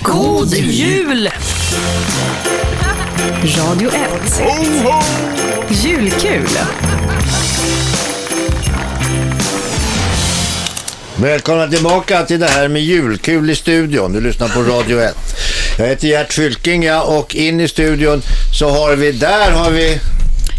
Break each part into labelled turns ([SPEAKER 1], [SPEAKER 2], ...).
[SPEAKER 1] God jul! Radio 1. Julkul.
[SPEAKER 2] Välkomna tillbaka till det här med julkul i studion. Du lyssnar på Radio 1. Jag heter Gert Fylking ja, och in i studion så har vi, där har vi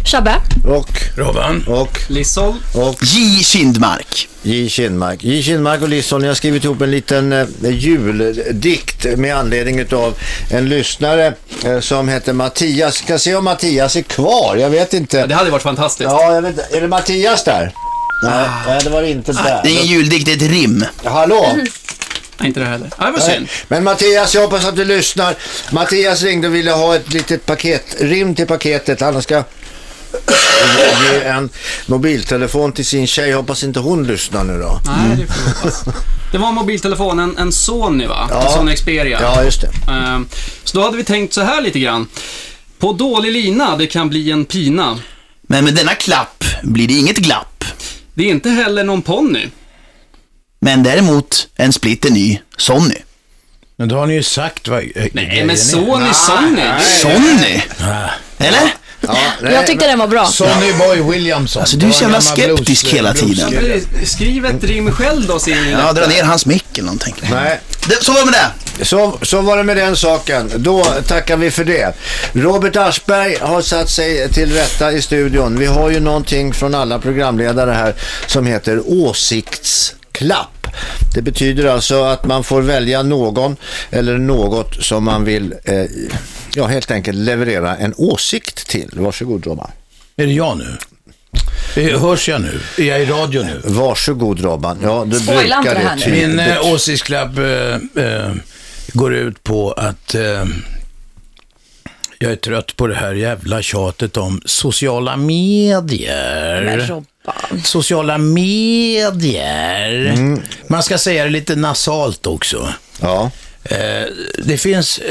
[SPEAKER 1] Shabbe.
[SPEAKER 2] och,
[SPEAKER 3] Robban.
[SPEAKER 2] och,
[SPEAKER 4] Lissol.
[SPEAKER 2] och
[SPEAKER 5] J. Kindmark.
[SPEAKER 2] J. Kinmark. J. Kinmark och Lisson, ni har skrivit ihop en liten eh, juldikt med anledning av en lyssnare eh, som heter Mattias. Ska se om Mattias är kvar, jag vet
[SPEAKER 4] Ja, det
[SPEAKER 2] inte.
[SPEAKER 4] hade varit fantastiskt. Ah.
[SPEAKER 2] Ja, jag vet inte. Är det Mattias där? Nej, nej, det var det inte
[SPEAKER 5] Ah, Det är ingen
[SPEAKER 2] där.
[SPEAKER 5] juldikt, det är ett rim.
[SPEAKER 2] Hallå?
[SPEAKER 4] Nej, inte det här heller. Ja, det var
[SPEAKER 2] Nej.
[SPEAKER 4] synd.
[SPEAKER 2] Men Mattias, jag hoppas att du lyssnar. Mattias ringde och ville ha ett litet paketrim till paketet. Han ska ge en mobiltelefon till sin tjej. Jag hoppas inte hon lyssnar nu då.
[SPEAKER 4] Nej, det får vi hoppas. Det var mobiltelefonen, en Sony va?
[SPEAKER 2] Ja.
[SPEAKER 4] En Sony Xperia.
[SPEAKER 2] Ja, just det.
[SPEAKER 4] Ehm, Så då hade vi tänkt så här lite grann. På dålig lina, det kan bli en pina.
[SPEAKER 5] Men med denna klapp blir det inget glapp.
[SPEAKER 4] Det är inte heller någon ponny.
[SPEAKER 5] Men däremot en splitter ny Sonny.
[SPEAKER 3] Men då har ni ju sagt vad eh,
[SPEAKER 4] Nej,
[SPEAKER 3] grejen är. Ah.
[SPEAKER 4] men Sony, Sony.
[SPEAKER 5] Sonny? Eller?
[SPEAKER 2] Ja, nej,
[SPEAKER 1] Jag tyckte den var bra.
[SPEAKER 3] Sonny Boy Williamson.
[SPEAKER 5] Alltså, du är så jävla skeptisk hela tiden.
[SPEAKER 4] Skriv ett rim själv då, säger
[SPEAKER 5] Ja, dra ner hans mick eller någonting.
[SPEAKER 2] nej.
[SPEAKER 5] Det, så var det med det.
[SPEAKER 2] Så, så var det med den saken. Då tackar vi för det. Robert Aschberg har satt sig till rätta i studion. Vi har ju någonting från alla programledare här som heter åsiktsklapp. Det betyder alltså att man får välja någon eller något som man vill eh, ja, helt enkelt leverera en åsikt till. Varsågod Robban.
[SPEAKER 3] Är det jag nu? Eh, Hörs jag nu? Är jag i radio nu?
[SPEAKER 2] Varsågod Robban. Ja, du
[SPEAKER 1] Spoila inte
[SPEAKER 2] brukar
[SPEAKER 1] det här
[SPEAKER 2] det
[SPEAKER 1] nu.
[SPEAKER 2] tydligt.
[SPEAKER 3] Min eh, åsiktsklapp eh, eh, går ut på att eh, jag är trött på det här jävla tjatet om sociala medier.
[SPEAKER 1] Men Robban.
[SPEAKER 3] Sociala medier. Man ska säga det lite nasalt också.
[SPEAKER 2] Mm. Ja.
[SPEAKER 3] Eh, det finns... eh,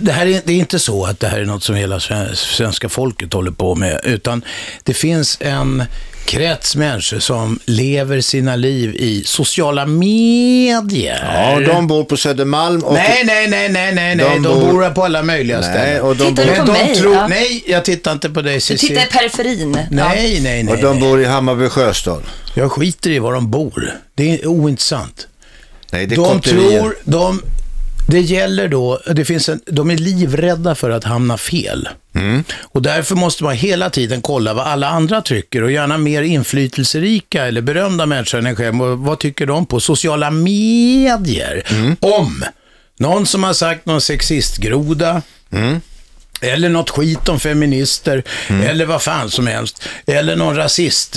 [SPEAKER 3] Det, här är, det är inte så att det här är något som hela sve- svenska folket håller på med, utan det finns en krets människor som lever sina liv i sociala medier.
[SPEAKER 2] ja, de bor på Södermalm och...
[SPEAKER 3] Nej, nej, nej, nej, nej, nej.
[SPEAKER 2] De
[SPEAKER 3] De,
[SPEAKER 2] bor-
[SPEAKER 3] bor på alla möjliga
[SPEAKER 2] Nej,
[SPEAKER 3] ställen.
[SPEAKER 2] och de
[SPEAKER 1] Tittar
[SPEAKER 2] bor...
[SPEAKER 1] du på
[SPEAKER 3] de
[SPEAKER 1] mig,
[SPEAKER 3] tror,
[SPEAKER 1] ja.
[SPEAKER 3] Nej, jag tittar inte på dig
[SPEAKER 1] Du tittar i
[SPEAKER 3] Cissi.
[SPEAKER 1] periferin.
[SPEAKER 3] Nej, nej, nej.
[SPEAKER 2] Och de bor i Hammarby Sjöstad.
[SPEAKER 3] Jag skiter i var de bor. Det är ointressant.
[SPEAKER 2] Nej, det är
[SPEAKER 3] de
[SPEAKER 2] kotterier.
[SPEAKER 3] tror, de, det gäller då, det finns en, de är livrädda för att hamna fel. Och därför måste man hela tiden kolla vad alla andra tycker och gärna mer inflytelserika eller berömda människor än en själv. Och Vad tycker de på sociala medier? Om någon som har sagt någon sexistgroda,
[SPEAKER 2] Mm.
[SPEAKER 3] eller något skit om feminister, eller vad fan som helst. Eller någon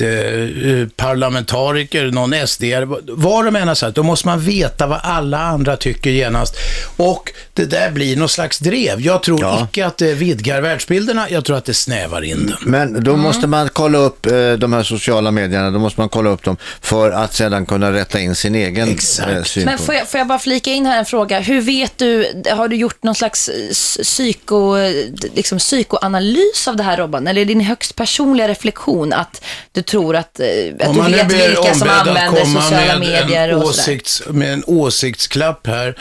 [SPEAKER 3] rasistparlamentariker, eh, parlamentariker, någon SD, vad de än har sagt, då måste man veta vad alla andra tycker genast. Och det där blir någon slags drev. Jag tror
[SPEAKER 2] Ja.
[SPEAKER 3] icke att det vidgar världsbilderna, jag tror att det snävar in den.
[SPEAKER 2] Men då
[SPEAKER 1] Mm.
[SPEAKER 2] måste man kolla upp eh, de här sociala medierna, då måste man kolla upp dem för att sedan kunna rätta in sin egen
[SPEAKER 3] Exakt.
[SPEAKER 2] eh, synpunkt.
[SPEAKER 1] Men får jag, får jag bara flika in här en fråga? Hur vet du, har du gjort någon slags eh, s- psyko, eh, liksom, psykoanalys av det här Robban? Eller är det din högst personliga reflektion att du tror att, eh, att du vet vilka som använder sociala medier
[SPEAKER 3] en
[SPEAKER 1] och sådär?
[SPEAKER 3] åsikts, med en åsiktsklapp här,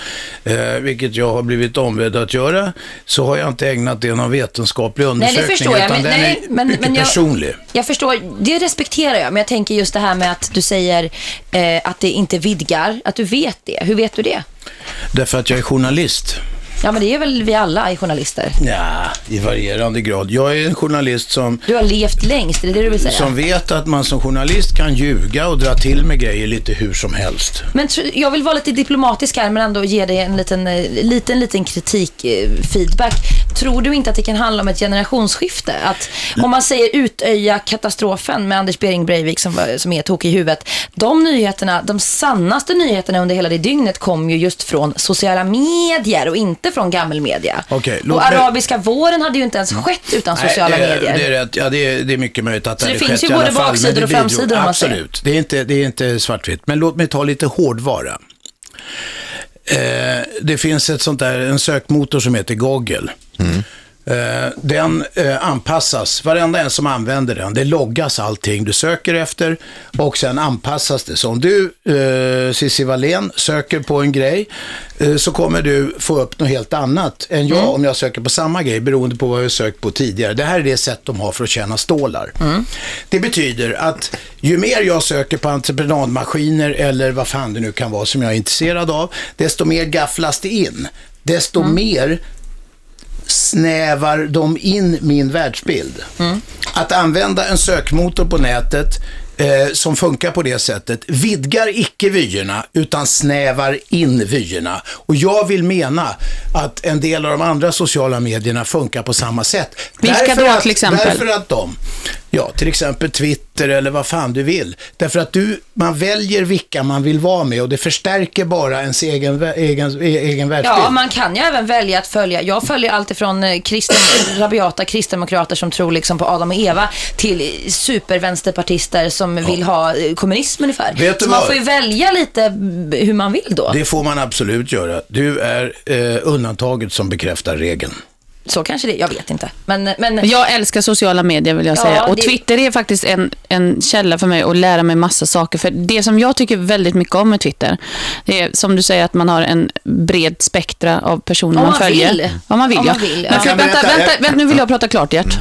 [SPEAKER 3] eh, vilket jag har blivit ombedd att göra, så har jag inte ägnat det någon vetenskaplig
[SPEAKER 1] Nej,
[SPEAKER 3] undersökning,
[SPEAKER 1] det förstår jag.
[SPEAKER 3] utan
[SPEAKER 1] Men,
[SPEAKER 3] den
[SPEAKER 1] nej,
[SPEAKER 3] är
[SPEAKER 1] men,
[SPEAKER 3] mycket
[SPEAKER 1] men jag,
[SPEAKER 3] personlig.
[SPEAKER 1] Jag förstår, det respekterar jag. Men jag tänker just det här med att du säger eh, att det inte vidgar, att du vet det. Hur vet du det?
[SPEAKER 3] Därför att jag är journalist.
[SPEAKER 1] Ja, men det är väl vi alla är journalister.
[SPEAKER 3] Ja, i varierande grad. Jag är en journalist som
[SPEAKER 1] Du har levt längst, är det det du vill säga?
[SPEAKER 3] som vet att man som journalist kan ljuga och dra till med grejer lite hur som helst.
[SPEAKER 1] Men tr- jag vill vara lite diplomatisk här men ändå ge dig en liten, eh, liten, liten kritik, eh, feedback. Tror du inte att det kan handla om ett generationsskifte? Att om man säger utöja katastrofen med Anders Bering Breivik som, var- som är tokig i huvudet. De nyheterna, de sannaste nyheterna under hela det dygnet kom ju just från sociala medier och inte från gammelmedia.
[SPEAKER 3] Okej, låt
[SPEAKER 1] och
[SPEAKER 3] mig-
[SPEAKER 1] arabiska våren hade ju inte ens skett utan sociala
[SPEAKER 3] Nej, eh, det, är-
[SPEAKER 1] medier.
[SPEAKER 3] Det är, rätt. Ja, det, är, det är mycket möjligt att
[SPEAKER 1] Så det
[SPEAKER 3] hade
[SPEAKER 1] finns
[SPEAKER 3] skett
[SPEAKER 1] ju
[SPEAKER 3] i alla
[SPEAKER 1] både
[SPEAKER 3] fall, men
[SPEAKER 1] baksidor
[SPEAKER 3] det
[SPEAKER 1] och
[SPEAKER 3] bidrog-
[SPEAKER 1] framsidor, om man säger.
[SPEAKER 3] Absolut, det är, inte, det är inte svartvitt. Men låt mig ta lite hårdvara. Eh, det finns ett sånt där, en sökmotor som heter Google. Eh, Den eh, anpassas, varenda en som använder den, det loggas allting du söker efter och sen anpassas det. Så om du, eh, Cissi Wallén, söker på en grej eh, så kommer du få upp något helt annat än jag om jag söker på samma grej beroende på vad jag har sökt på tidigare. Det här är det sätt de har för att tjäna stålar. Det betyder att ju mer jag söker på entreprenadmaskiner eller vad fan det nu kan vara som jag är intresserad av, desto mer gafflas det in. Desto mer snävar de in min världsbild.
[SPEAKER 6] Mm.
[SPEAKER 3] Att använda en sökmotor på nätet eh, som funkar på det sättet vidgar icke vyerna utan snävar in vyerna. Och jag vill mena att en del av de andra sociala medierna funkar på samma sätt.
[SPEAKER 6] Vilka
[SPEAKER 3] Därför
[SPEAKER 6] då,
[SPEAKER 3] att-
[SPEAKER 6] till exempel?
[SPEAKER 3] Därför att de, ja till exempel Twitter eller vad fan du vill. Därför att du, man väljer vilka man vill vara med och det förstärker bara ens egen, vä- egen, e- egen världsbild.
[SPEAKER 1] Ja, man kan ju även välja att följa. Jag följer allt ifrån eh, kristen, rabiata kristdemokrater som tror liksom på Adam och Eva till supervänsterpartister som vill ha eh, kommunism ungefär.
[SPEAKER 3] Vet du
[SPEAKER 1] Så man
[SPEAKER 3] vad?
[SPEAKER 1] får ju välja lite b- hur man vill då.
[SPEAKER 3] Det får man absolut göra. Du är eh, undantaget som bekräftar regeln.
[SPEAKER 1] Så kanske det, jag vet inte. Men, eh, men
[SPEAKER 6] Men Jag älskar sociala medier vill jag
[SPEAKER 1] Ja,
[SPEAKER 6] säga. Och
[SPEAKER 1] det-
[SPEAKER 6] Twitter är faktiskt en, en källa för mig att lära mig massa saker. För det som jag tycker väldigt mycket om med Twitter, det är som du säger att man har en bred spektra av personer
[SPEAKER 1] Om
[SPEAKER 6] man,
[SPEAKER 1] man
[SPEAKER 6] följer.
[SPEAKER 1] vill.
[SPEAKER 6] Om man vill.
[SPEAKER 1] Om
[SPEAKER 6] ja.
[SPEAKER 1] man vill, ja.
[SPEAKER 6] Men
[SPEAKER 1] Jag
[SPEAKER 6] för,
[SPEAKER 2] kan
[SPEAKER 6] vänta,
[SPEAKER 2] berätta-
[SPEAKER 6] vänta, vänta, nu vill jag prata klart Gert.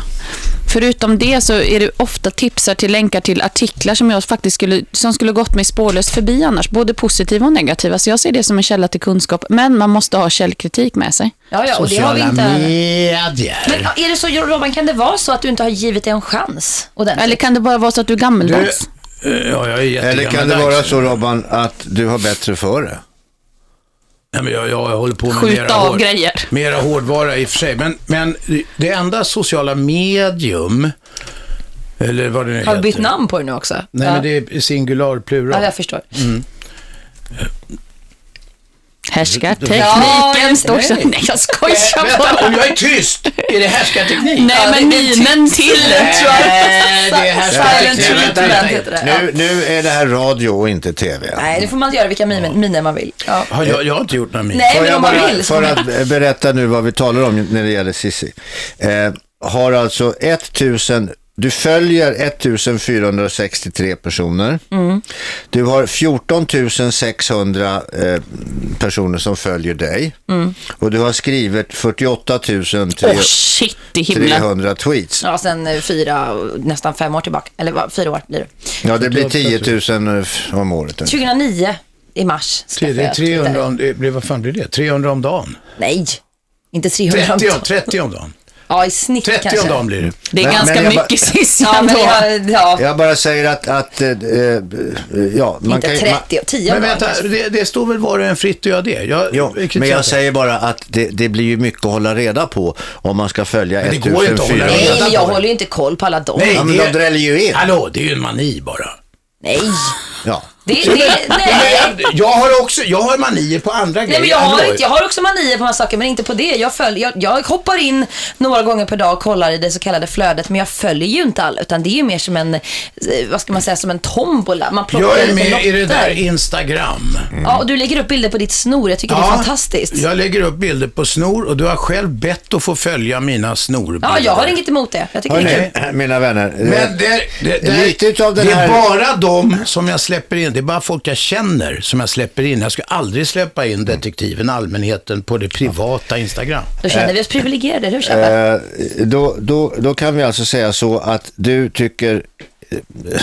[SPEAKER 6] Förutom det så är det ofta tipsar till länkar till artiklar som jag faktiskt skulle, som skulle gått mig spårlöst förbi annars. Både positiva och negativa. Så jag ser det som en källa till kunskap. Men man måste ha källkritik med sig.
[SPEAKER 1] ja, ja, och det har vi
[SPEAKER 3] Sociala
[SPEAKER 1] inte.
[SPEAKER 3] medier.
[SPEAKER 1] Men ja, är det så, Robban, kan det vara så att du inte har givit det en chans ordentligt?
[SPEAKER 6] Eller kan det bara vara så att du är gammeldags?
[SPEAKER 3] Eh, Ja, jag är
[SPEAKER 2] Eller kan det
[SPEAKER 3] jättegammaldags.
[SPEAKER 2] vara så Robban att du har bättre för det?
[SPEAKER 3] Nej, men jag, jag håller på med
[SPEAKER 6] Skjuta
[SPEAKER 3] mera
[SPEAKER 6] av grejer.
[SPEAKER 3] Mera hårdvara i och för sig. Men, men det enda sociala medium, eller vad det nu
[SPEAKER 1] Har
[SPEAKER 3] heter.
[SPEAKER 1] du bytt namn på det nu också?
[SPEAKER 3] Nej,
[SPEAKER 1] ja.
[SPEAKER 3] men det är singular plural. Mm.
[SPEAKER 1] Ja, jag förstår.
[SPEAKER 6] Härskartekniken
[SPEAKER 1] Ja, jag-
[SPEAKER 6] står så...
[SPEAKER 1] nej.
[SPEAKER 6] Nej, jag skojar
[SPEAKER 3] Vänta, om
[SPEAKER 6] bara.
[SPEAKER 3] jag är tyst! Är det härskarteknik?
[SPEAKER 6] Nej, men minen till. tror jag.
[SPEAKER 3] Nej, det är
[SPEAKER 1] Silent
[SPEAKER 3] härskarteknik.
[SPEAKER 1] treatment
[SPEAKER 3] Vänta, vänta.
[SPEAKER 1] heter det. Ja.
[SPEAKER 2] Nu, nu är det här radio och inte tv.
[SPEAKER 1] Nej, det får man göra vilka miner, miner man vill. Ja.
[SPEAKER 3] Har jag, jag har inte gjort några min.
[SPEAKER 1] Nej,
[SPEAKER 2] Får
[SPEAKER 1] men
[SPEAKER 2] jag
[SPEAKER 1] om man
[SPEAKER 2] bara-
[SPEAKER 1] vill. så
[SPEAKER 2] För att berätta nu vad vi talar om när det gäller Sissi. Eh, har alltså 1000, du följer 1463 personer.
[SPEAKER 7] Mm.
[SPEAKER 2] Du har 14 600 eh, personer som följer dig.
[SPEAKER 1] Mm.
[SPEAKER 2] Och du har skrivit 48
[SPEAKER 6] Åh,
[SPEAKER 2] 300
[SPEAKER 6] shit i himlen.
[SPEAKER 2] tweets.
[SPEAKER 1] Ja, sen eh, fyra, nästan fem år tillbaka. Eller vad, fyra år blir det.
[SPEAKER 2] Ja, det blir 10 000 om året.
[SPEAKER 1] 2009 i mars.
[SPEAKER 3] Det
[SPEAKER 1] skaffade
[SPEAKER 3] är
[SPEAKER 1] jag Twitter.
[SPEAKER 3] 300 om, det blir, vad fan blir det? 300 om dagen?
[SPEAKER 1] Nej, inte 300.
[SPEAKER 3] 30, om- 30 om dagen.
[SPEAKER 1] Ja, i snitt
[SPEAKER 3] 30 om
[SPEAKER 1] kanske.
[SPEAKER 3] dagen blir det.
[SPEAKER 6] Det är
[SPEAKER 2] Men-
[SPEAKER 6] ganska
[SPEAKER 2] men jag bara-
[SPEAKER 6] mycket Cissi
[SPEAKER 1] Ja, men
[SPEAKER 6] ändå.
[SPEAKER 1] jag, ja,
[SPEAKER 2] Jag bara säger att, att eh, eh, ja, man
[SPEAKER 1] inte
[SPEAKER 2] kan, ju- man,
[SPEAKER 1] 30, 10
[SPEAKER 3] Men
[SPEAKER 1] om dagen
[SPEAKER 3] vänta,
[SPEAKER 1] kanske.
[SPEAKER 3] det, det står väl var och en fritt att göra det? Jag,
[SPEAKER 2] Jo, men jag säger bara att det, det blir ju mycket att hålla reda på om man ska följa
[SPEAKER 3] Men det går ju inte att hålla
[SPEAKER 2] 1400.
[SPEAKER 3] reda
[SPEAKER 1] Nej,
[SPEAKER 3] på
[SPEAKER 1] men
[SPEAKER 3] det.
[SPEAKER 1] jag håller ju inte koll på alla dem. Nej.
[SPEAKER 2] Ja, men de dräller ju in.
[SPEAKER 3] Hallå, det är ju en mani bara.
[SPEAKER 2] Ja.
[SPEAKER 1] Det, det, nej.
[SPEAKER 3] Jag, jag har också, jag har manier på andra
[SPEAKER 1] Nej,
[SPEAKER 3] grejer.
[SPEAKER 1] men jag, har,
[SPEAKER 3] Hallå.
[SPEAKER 1] inte- jag har också manier på massa saker, men inte på det. Jag, följer, jag, jag hoppar in några gånger per dag och kollar i det så kallade flödet, men jag följer ju inte alla, utan det är ju mer som en, eh, vad ska man säga, som en tombola. Man plockar
[SPEAKER 3] Jag är
[SPEAKER 1] lite
[SPEAKER 3] med i det
[SPEAKER 1] lotter.
[SPEAKER 3] där Instagram.
[SPEAKER 1] Mm. Ja, och du lägger upp bilder på ditt snor. Jag tycker det är fantastiskt.
[SPEAKER 3] Jag lägger upp bilder på snor och du har själv bett att få följa mina snorbilder.
[SPEAKER 1] Ja, jag har inget emot det. Jag tycker det är kul.
[SPEAKER 2] Hörrni, mina vänner.
[SPEAKER 3] Men
[SPEAKER 2] eh,
[SPEAKER 3] det, det, det,
[SPEAKER 2] Lite utav den
[SPEAKER 3] det är
[SPEAKER 2] här-
[SPEAKER 3] bara de som jag släpper in. Det är bara folk jag känner som jag släpper in. Jag ska aldrig släppa in detektiven, allmänheten, på det privata Instagram.
[SPEAKER 1] Då känner vi
[SPEAKER 3] eh,
[SPEAKER 1] oss privilegierade, du Shabbe?
[SPEAKER 2] eh, då, då, då kan vi alltså säga så att du tycker... eh,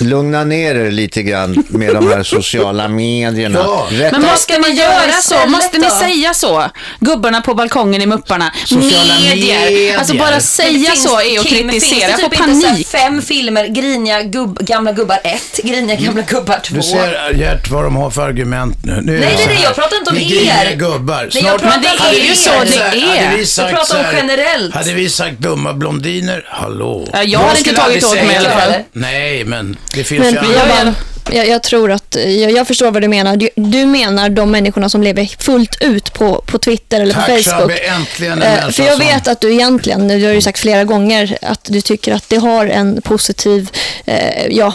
[SPEAKER 2] Lugna ner er lite grann med de här sociala medierna.
[SPEAKER 3] Ja.
[SPEAKER 2] Rätta-
[SPEAKER 6] Men måste ni
[SPEAKER 1] man göra
[SPEAKER 6] göra så?
[SPEAKER 1] istället
[SPEAKER 6] Måste ni
[SPEAKER 1] då?
[SPEAKER 6] säga så? Gubbarna på balkongen i Mupparna.
[SPEAKER 3] eh, Sociala medier.
[SPEAKER 6] Alltså bara säga så är att
[SPEAKER 1] Kim,
[SPEAKER 6] kritisera.
[SPEAKER 1] Finns
[SPEAKER 6] Jag
[SPEAKER 1] det
[SPEAKER 6] får
[SPEAKER 1] typ inte så här
[SPEAKER 6] panik.
[SPEAKER 1] fem filmer, griniga gubb, gamla gubbar 1, griniga gamla gubbar 2?
[SPEAKER 3] Mm. Du ser Gert vad de har för argument nu. nu
[SPEAKER 1] Nej,
[SPEAKER 3] är det
[SPEAKER 1] nej,
[SPEAKER 3] så
[SPEAKER 1] nej,
[SPEAKER 3] här.
[SPEAKER 1] jag pratar inte om
[SPEAKER 3] Ni griniga
[SPEAKER 1] er.
[SPEAKER 3] gubbar.
[SPEAKER 1] Nej, jag pratar
[SPEAKER 6] Men det är ju så
[SPEAKER 1] om er.
[SPEAKER 6] det är.
[SPEAKER 3] Hade vi
[SPEAKER 6] Jag
[SPEAKER 3] sagt
[SPEAKER 1] pratar om
[SPEAKER 3] så här,
[SPEAKER 1] generellt.
[SPEAKER 3] Hade vi sagt dumma blondiner, hallå.
[SPEAKER 6] Ja, jag
[SPEAKER 3] De
[SPEAKER 6] hade inte
[SPEAKER 3] skulle
[SPEAKER 6] tagit
[SPEAKER 3] aldrig
[SPEAKER 6] åt mig
[SPEAKER 3] säga
[SPEAKER 6] i alla
[SPEAKER 3] det.
[SPEAKER 1] fall.
[SPEAKER 3] Nej, men det finns
[SPEAKER 8] Men
[SPEAKER 3] ju andra.
[SPEAKER 6] jag-
[SPEAKER 8] jag, jag, jag tror att, jag, jag förstår vad du menar. Du, du menar de människorna som lever fullt ut på, på Twitter eller på
[SPEAKER 3] Tack Shabbe,
[SPEAKER 8] Facebook.
[SPEAKER 3] äntligen en
[SPEAKER 8] Eh,
[SPEAKER 3] människa
[SPEAKER 8] för jag
[SPEAKER 3] som-
[SPEAKER 8] vet att du egentligen, du har ju sagt flera gånger, att du tycker att det har en positiv, eh, ja,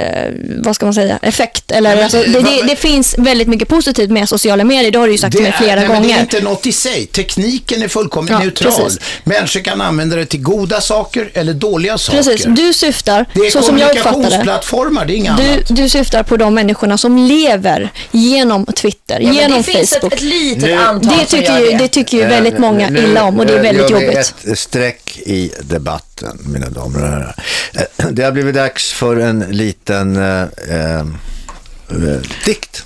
[SPEAKER 8] eh, vad ska man säga, effekt. Eller, alltså, det,
[SPEAKER 3] eh,
[SPEAKER 8] det, det finns väldigt mycket positivt med sociala medier, det har du ju sagt till mig flera
[SPEAKER 3] nej,
[SPEAKER 8] gånger.
[SPEAKER 3] Men det är inte något i sig. Tekniken är fullkomligt
[SPEAKER 8] Ja,
[SPEAKER 3] neutral.
[SPEAKER 8] precis.
[SPEAKER 3] Människor kan använda det till goda saker eller dåliga saker.
[SPEAKER 8] Precis, du syftar,
[SPEAKER 3] det är
[SPEAKER 8] så som jag uppfattar det,
[SPEAKER 3] kommunikationsplattformar, det är inget annat.
[SPEAKER 8] du, du syftar på de människorna som lever genom Twitter,
[SPEAKER 1] Ja, men
[SPEAKER 8] genom
[SPEAKER 1] det finns ett,
[SPEAKER 8] Facebook.
[SPEAKER 1] ett litet
[SPEAKER 2] Nu-
[SPEAKER 1] antal
[SPEAKER 8] det,
[SPEAKER 1] som
[SPEAKER 8] tycker
[SPEAKER 1] gör
[SPEAKER 8] ju,
[SPEAKER 1] det.
[SPEAKER 8] det tycker ju väldigt
[SPEAKER 2] Eh,
[SPEAKER 8] många
[SPEAKER 2] nu-
[SPEAKER 8] illa om och det är
[SPEAKER 2] eh,
[SPEAKER 8] väldigt
[SPEAKER 2] gör vi
[SPEAKER 8] jobbigt.
[SPEAKER 2] ett streck i debatten, mina damer och herrar. Eh, Det har blivit dags för en liten eh, eh, eh, dikt.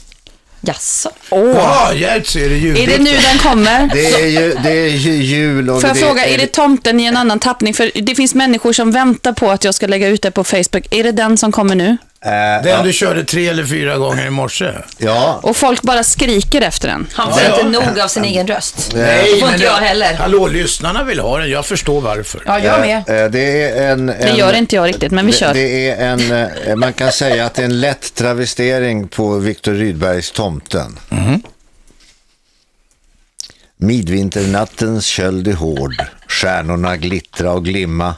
[SPEAKER 1] Jaså?
[SPEAKER 3] Jaha, Gert, är det
[SPEAKER 6] Är det
[SPEAKER 3] ljudligt.
[SPEAKER 6] nu den kommer?
[SPEAKER 2] Det är ju, det är ju jul och
[SPEAKER 6] Får jag
[SPEAKER 2] det
[SPEAKER 6] fråga, är det tomten i en annan tappning? För det finns människor som väntar på att jag ska lägga ut det på Facebook. Är det den som kommer nu?
[SPEAKER 2] eh,
[SPEAKER 3] Den du körde tre eller fyra gånger i morse.
[SPEAKER 2] Ja,
[SPEAKER 6] Och folk bara skriker efter den.
[SPEAKER 1] Han får inte nog av sin egen röst.
[SPEAKER 2] Eh,
[SPEAKER 1] det får
[SPEAKER 3] men
[SPEAKER 1] inte jag heller.
[SPEAKER 3] Hallå, lyssnarna vill ha den. Jag förstår varför.
[SPEAKER 1] Ja, jag med.
[SPEAKER 2] eh, det är en... en
[SPEAKER 6] Det gör inte jag riktigt, men vi
[SPEAKER 2] det-
[SPEAKER 6] kör.
[SPEAKER 2] Det är en, eh, man kan säga att det är en lätt travestering på Viktor Rydbergs Tomten. Midvinternattens köld är hård, stjärnorna glittra och glimma.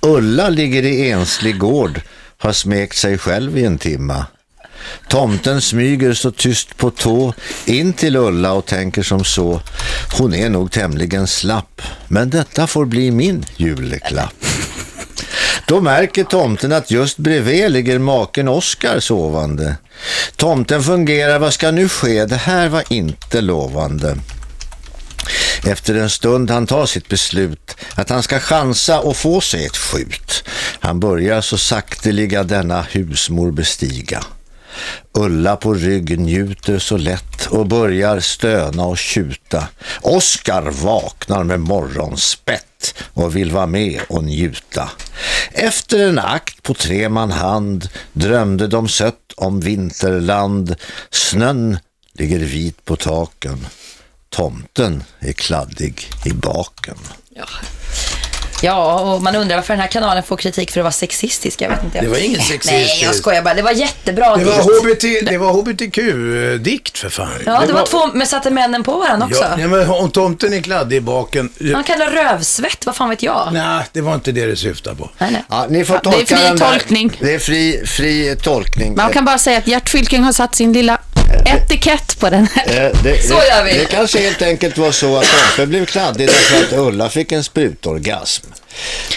[SPEAKER 2] Ulla ligger i enslig gård, har smekt sig själv i en timma. Tomten smyger så tyst på tå in till Ulla och tänker som så. Hon är nog tämligen slapp, men detta får bli min julklapp. Då märker tomten att just bredvid ligger maken Oskar sovande. Tomten fungerar, vad ska nu ske? Det här var inte lovande. Efter en stund han tar sitt beslut att han ska chansa och få sig ett skjut. Han börjar så sakteliga denna husmor bestiga. Ulla på rygg njuter så lätt och börjar stöna och tjuta. Oskar vaknar med morgonspett och vill vara med och njuta. Efter en akt på tre man hand drömde de sött om vinterland. Snön ligger vit på taken. Tomten är kladdig i baken.
[SPEAKER 1] Ja, och man undrar varför den här kanalen får kritik för att vara sexistisk. Jag vet inte.
[SPEAKER 3] Det var ingen
[SPEAKER 1] Nej,
[SPEAKER 3] sexistisk.
[SPEAKER 1] jag skojar bara. Det var jättebra
[SPEAKER 3] Det
[SPEAKER 1] dikt.
[SPEAKER 3] var, HBT, det var HBTQ-dikt för fan.
[SPEAKER 1] Ja, det var två, men satte männen på varandra också?
[SPEAKER 3] Ja, nej, men om tomten är kladdig i baken.
[SPEAKER 1] Han kallar rövsvett, vad fan vet jag?
[SPEAKER 3] Nej, det var inte det du syftade på.
[SPEAKER 1] Nej, nej.
[SPEAKER 2] Ja, ni får
[SPEAKER 6] Ja, det är
[SPEAKER 2] tolka
[SPEAKER 6] fri
[SPEAKER 2] den där.
[SPEAKER 6] tolkning.
[SPEAKER 2] Det är fri, fri tolkning.
[SPEAKER 6] Man kan bara säga att Gert Fylking har satt sin lilla etikett på den här.
[SPEAKER 2] Eh, det,
[SPEAKER 1] Så
[SPEAKER 2] det-
[SPEAKER 1] gör vi.
[SPEAKER 2] Det kanske helt enkelt var så att Tompe blev kladdig därför att Ulla fick en sprutorgasm.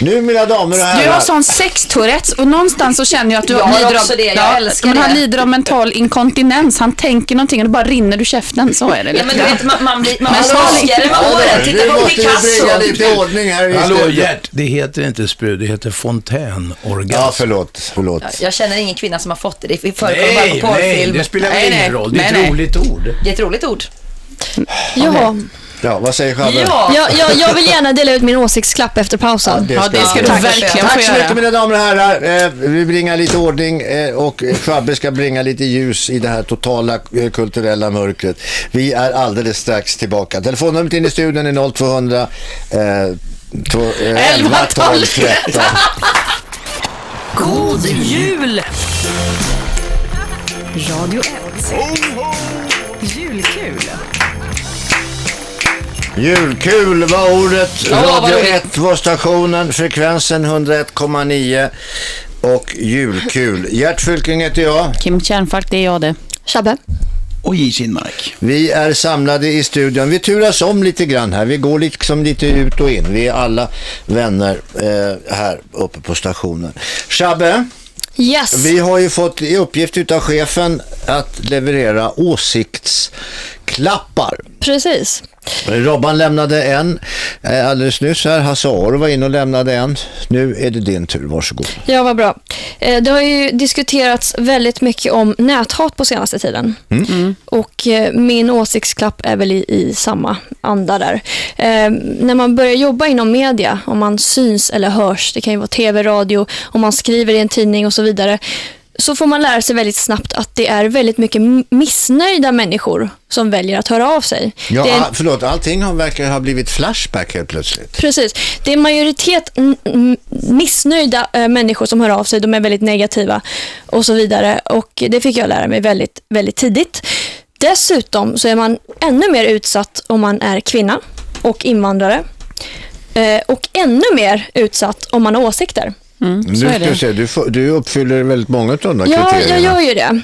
[SPEAKER 2] Nu mina damer och
[SPEAKER 6] Du har
[SPEAKER 2] herrar.
[SPEAKER 6] sån sextourettes och någonstans så känner jag att du
[SPEAKER 1] Jag har
[SPEAKER 6] lider
[SPEAKER 1] också
[SPEAKER 6] av,
[SPEAKER 1] det, jag älskar
[SPEAKER 6] men Han
[SPEAKER 1] det.
[SPEAKER 6] lider av mental inkontinens. Han tänker någonting och det bara rinner ur käften. Så är det.
[SPEAKER 1] Ja, men du vet, man, man blir man
[SPEAKER 6] Men
[SPEAKER 1] blir
[SPEAKER 9] Alltså,
[SPEAKER 6] så-
[SPEAKER 1] snuskigare med åren.
[SPEAKER 2] nu
[SPEAKER 1] Titta på
[SPEAKER 2] måste vi bringa
[SPEAKER 1] Picasso.
[SPEAKER 2] lite ordning här i
[SPEAKER 3] Hallå
[SPEAKER 2] studion.
[SPEAKER 3] Gert, det heter inte sprud, det heter fontänorgasm.
[SPEAKER 2] Ja, förlåt. förlåt.
[SPEAKER 1] Jag känner ingen kvinna som har fått det. Det förekommer bara
[SPEAKER 3] Nej,
[SPEAKER 1] på
[SPEAKER 3] nej,
[SPEAKER 1] porrfilm.
[SPEAKER 3] det spelar
[SPEAKER 6] Nej,
[SPEAKER 3] väl
[SPEAKER 6] nej.
[SPEAKER 3] ingen roll. Det är ett
[SPEAKER 6] Nej, nej.
[SPEAKER 3] roligt ord.
[SPEAKER 1] Det är ett roligt ord.
[SPEAKER 8] Jaha.
[SPEAKER 2] Ja, vad säger Schabbe?
[SPEAKER 1] Ja,
[SPEAKER 8] Jag, jag, jag vill gärna dela ut min åsiktsklapp efter pausen.
[SPEAKER 6] Ja, det ska
[SPEAKER 2] vi
[SPEAKER 6] du
[SPEAKER 2] göra.
[SPEAKER 6] verkligen få
[SPEAKER 2] Tack så mycket
[SPEAKER 6] göra.
[SPEAKER 2] mina damer och herrar. Eh, Vi bringar lite ordning eh, och Schabbe ska bringa lite ljus i det här totala eh, kulturella mörkret. Vi är alldeles strax tillbaka. Telefonnumret in i studion är 0200 eh, två- eh, 11 12 13.
[SPEAKER 7] God jul! Radio 1. Julkul.
[SPEAKER 2] Julkul var ordet.
[SPEAKER 1] Ja, vad
[SPEAKER 2] Radio
[SPEAKER 1] roligt.
[SPEAKER 2] 1 var stationen, frekvensen 101,9 och julkul. Gert Fylking heter jag.
[SPEAKER 6] Kim Kärnfalk, det är jag det.
[SPEAKER 8] Shabbe?
[SPEAKER 5] Och J. Kinmark.
[SPEAKER 2] Vi är samlade i studion. Vi turas om lite grann här. Vi går liksom lite ut och in. Vi är alla vänner eh, här uppe på stationen. Shabbe,
[SPEAKER 8] Yes.
[SPEAKER 2] vi har ju fått i uppgift utav chefen att leverera åsiktsklappar.
[SPEAKER 8] Precis.
[SPEAKER 2] Robban lämnade en eh, alldeles nyss här. Hasse Aro var inne och lämnade en. Nu är det din tur. Varsågod.
[SPEAKER 8] Ja, vad bra. Eh, Det har ju diskuterats väldigt mycket om näthat på senaste tiden.
[SPEAKER 2] Mm.
[SPEAKER 6] Mm.
[SPEAKER 8] Och eh, min åsiktsklapp är väl i, i samma anda där. Eh, När man börjar jobba inom media, om man syns eller hörs, det kan ju vara tv, radio, om man skriver i en tidning och så vidare, så får man lära sig väldigt snabbt att det är väldigt mycket m- missnöjda människor som väljer att höra av sig.
[SPEAKER 2] Ja,
[SPEAKER 8] det är
[SPEAKER 2] ah, förlåt, allting har- verkar ha blivit Flashback helt plötsligt.
[SPEAKER 8] Precis. Det är en majoritet mm, mm, missnöjda eh, människor som hör av sig. De är väldigt negativa och så vidare. Och Det fick jag lära mig väldigt, väldigt tidigt. Dessutom så är man ännu mer utsatt om man är kvinna och invandrare. Eh, Och ännu mer utsatt om man har åsikter.
[SPEAKER 2] nu
[SPEAKER 6] Mm. så är
[SPEAKER 2] ska
[SPEAKER 6] det.
[SPEAKER 2] vi se, du, får- du uppfyller väldigt många av de där
[SPEAKER 8] Ja, jag
[SPEAKER 2] kriterierna.
[SPEAKER 8] gör ju det.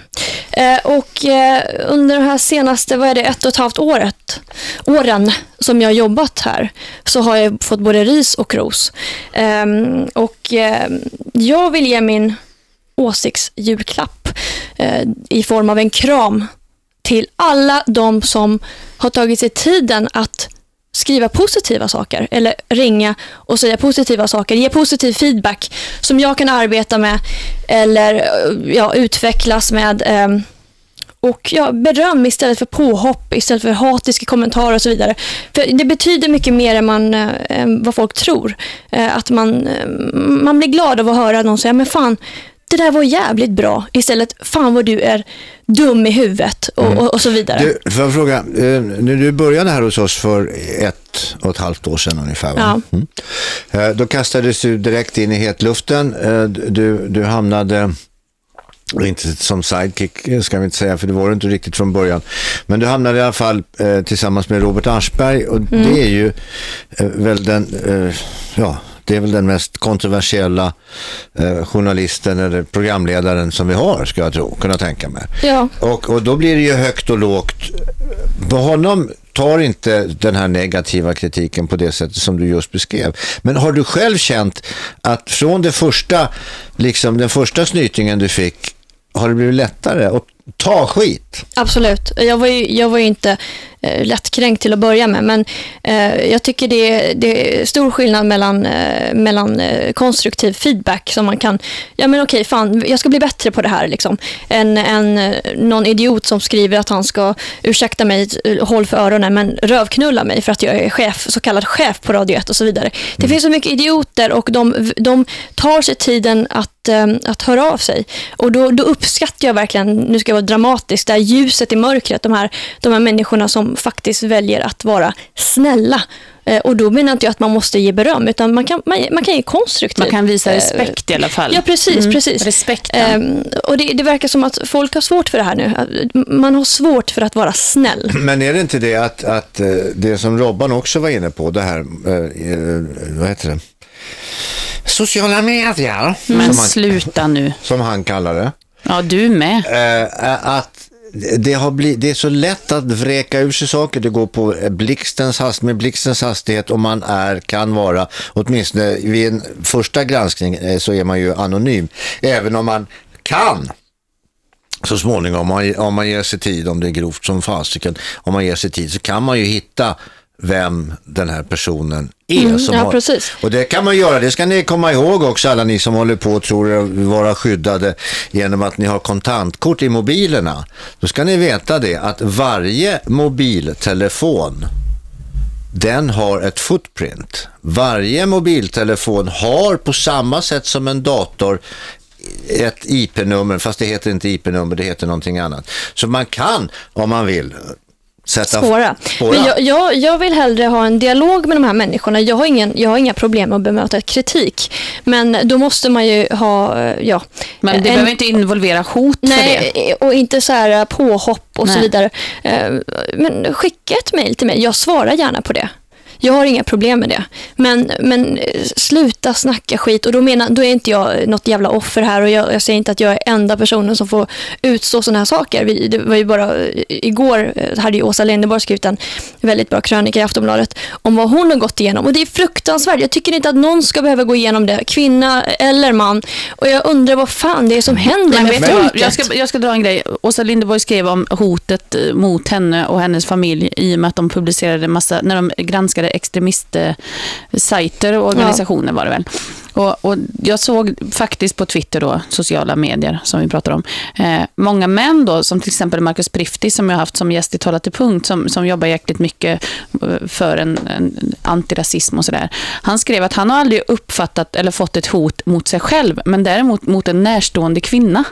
[SPEAKER 8] Eh, Och eh, under de här senaste, vad är det, ett och ett halvt året, åren som jag har jobbat här så har jag fått både ris och ros. Ehm, Och eh, jag vill ge min åsiktsjulklapp eh, i form av en kram till alla de som har tagit sig tiden att skriva positiva saker eller ringa och säga positiva saker, ge positiv feedback som jag kan arbeta med eller eh, ja, utvecklas med. ehm, och ja, beröm istället för påhopp, istället för hatiska kommentarer och så vidare. För Det betyder mycket mer än, man, eh, än vad folk tror. Eh, att man, eh, man blir glad av att höra någon säga, men fan, det där var jävligt bra. Istället, fan vad du är dum i huvudet och, och, och så vidare.
[SPEAKER 2] Du, får jag fråga, eh, när du började här hos oss för ett och ett halvt år sedan ungefär, va? Mm. Eh, då kastades du direkt in i hetluften. Eh, du, du hamnade, inte som sidekick eh, ska vi inte säga, för det var du inte riktigt från början, men du hamnade i alla fall eh, tillsammans med Robert Aschberg
[SPEAKER 8] Mm.
[SPEAKER 2] och det är ju eh, väl den, eh, ja, det är väl den mest kontroversiella eh, journalisten eller programledaren som vi har, ska jag tro, kunna tänka mig.
[SPEAKER 8] Ja.
[SPEAKER 2] Och, och då blir det ju högt och lågt. På honom tar inte den här negativa kritiken på det sättet som du just beskrev. Men har du själv känt att från det första, liksom den första snytingen du fick, har det blivit lättare att ta skit?
[SPEAKER 8] Absolut. Jag var ju, jag var ju inte eh, lättkränkt till att börja med, men eh, jag tycker det är, det är stor skillnad mellan, eh, mellan eh, konstruktiv feedback som man kan, ja men okej, fan, jag ska bli bättre på det här, liksom, än, än eh, någon idiot som skriver att han ska, ursäkta mig, eh, håll för öronen, men rövknulla mig för att jag är eh, chef, så kallad chef på Radio 1 och så vidare. Det finns så mycket idioter och de, de tar sig tiden att, eh, att höra av sig. Och då, då uppskattar jag verkligen, nu ska jag vara dramatisk, det här ljuset i mörkret, de här, de här människorna som faktiskt väljer att vara snälla. Eh, Och då menar inte jag att man måste ge beröm, utan man kan, man, man kan ge konstruktivt.
[SPEAKER 6] Man kan visa
[SPEAKER 8] Eh,
[SPEAKER 6] respekt i alla fall. Mm.
[SPEAKER 8] Ja, precis. precis.
[SPEAKER 6] Respekten.
[SPEAKER 8] Ehm, och det, det verkar som att folk har svårt för det här nu. Att Man har svårt för att vara snäll.
[SPEAKER 2] Men är det inte det att, att eh, det som Robban också var inne på, det här, eh, eh, vad heter det? Sociala medier,
[SPEAKER 6] Men
[SPEAKER 2] som, han,
[SPEAKER 6] sluta nu.
[SPEAKER 2] som han kallar det.
[SPEAKER 6] Ja, du med.
[SPEAKER 2] Eh, att det, har bli, det är så lätt att vräka ur sig saker. Det går på eh, blixtens hast, med blixtens hastighet och man är, kan vara, åtminstone vid en första granskning eh, så är man ju anonym. Även om man kan så småningom, om man, om man ger sig tid, om det är grovt som fasiken, om man ger sig tid så kan man ju hitta vem den här personen är.
[SPEAKER 8] Mm,
[SPEAKER 2] som
[SPEAKER 8] ja,
[SPEAKER 2] har,
[SPEAKER 8] precis.
[SPEAKER 2] och det kan man göra, det ska ni komma ihåg också alla ni som håller på och tror er vara skyddade genom att ni har kontantkort i mobilerna. Då ska ni veta det att varje mobiltelefon den har ett footprint. Varje mobiltelefon har på samma sätt som en dator ett IP-nummer, fast det heter inte IP-nummer, det heter någonting annat. Så man kan, om man vill, sätta
[SPEAKER 8] Spåra.
[SPEAKER 2] spåra.
[SPEAKER 8] Men jag, jag, jag vill hellre ha en dialog med de här människorna. Jag har, ingen, jag har inga problem med att bemöta kritik. Men då måste man ju ha... eh, Ja,
[SPEAKER 6] Men det
[SPEAKER 8] en-
[SPEAKER 6] behöver inte involvera hot för det.
[SPEAKER 8] Nej, och inte så här eh, påhopp och så
[SPEAKER 6] Nej.
[SPEAKER 8] vidare. Eh, Men skicka ett mejl till mig. Jag svarar gärna på det. Jag har inga problem med det. Men, men eh, sluta snacka skit. Och då, menar, då är inte jag något jävla offer här och jag, jag säger inte att jag är enda personen som får utstå sådana här saker. Vi, det var ju bara eh, igår eh, hade ju Åsa Linderborg skrivit en väldigt bra krönika i Aftonbladet om vad hon har gått igenom. Och det är fruktansvärt. Jag tycker inte att någon ska behöva gå igenom det. Kvinna eller man. Och jag undrar vad fan det är som händer
[SPEAKER 6] Men
[SPEAKER 8] med
[SPEAKER 6] vet du vad,
[SPEAKER 8] folket.
[SPEAKER 6] jag, ska, jag ska dra en grej. Åsa Linderborg skrev om hotet eh, mot henne och hennes familj i och med att de publicerade massa, när de granskade extremistsajter och organisationer var det väl. Och, och jag såg faktiskt på Twitter då, sociala medier som vi pratar om, eh, många män då, som till exempel Marcus Prifti som jag har haft som gäst i Tala till punkt, som, som jobbar jäkligt mycket eh, för en, en antirasism och sådär. Han skrev att han har aldrig uppfattat eller fått ett hot mot sig själv, men däremot mot en närstående kvinna.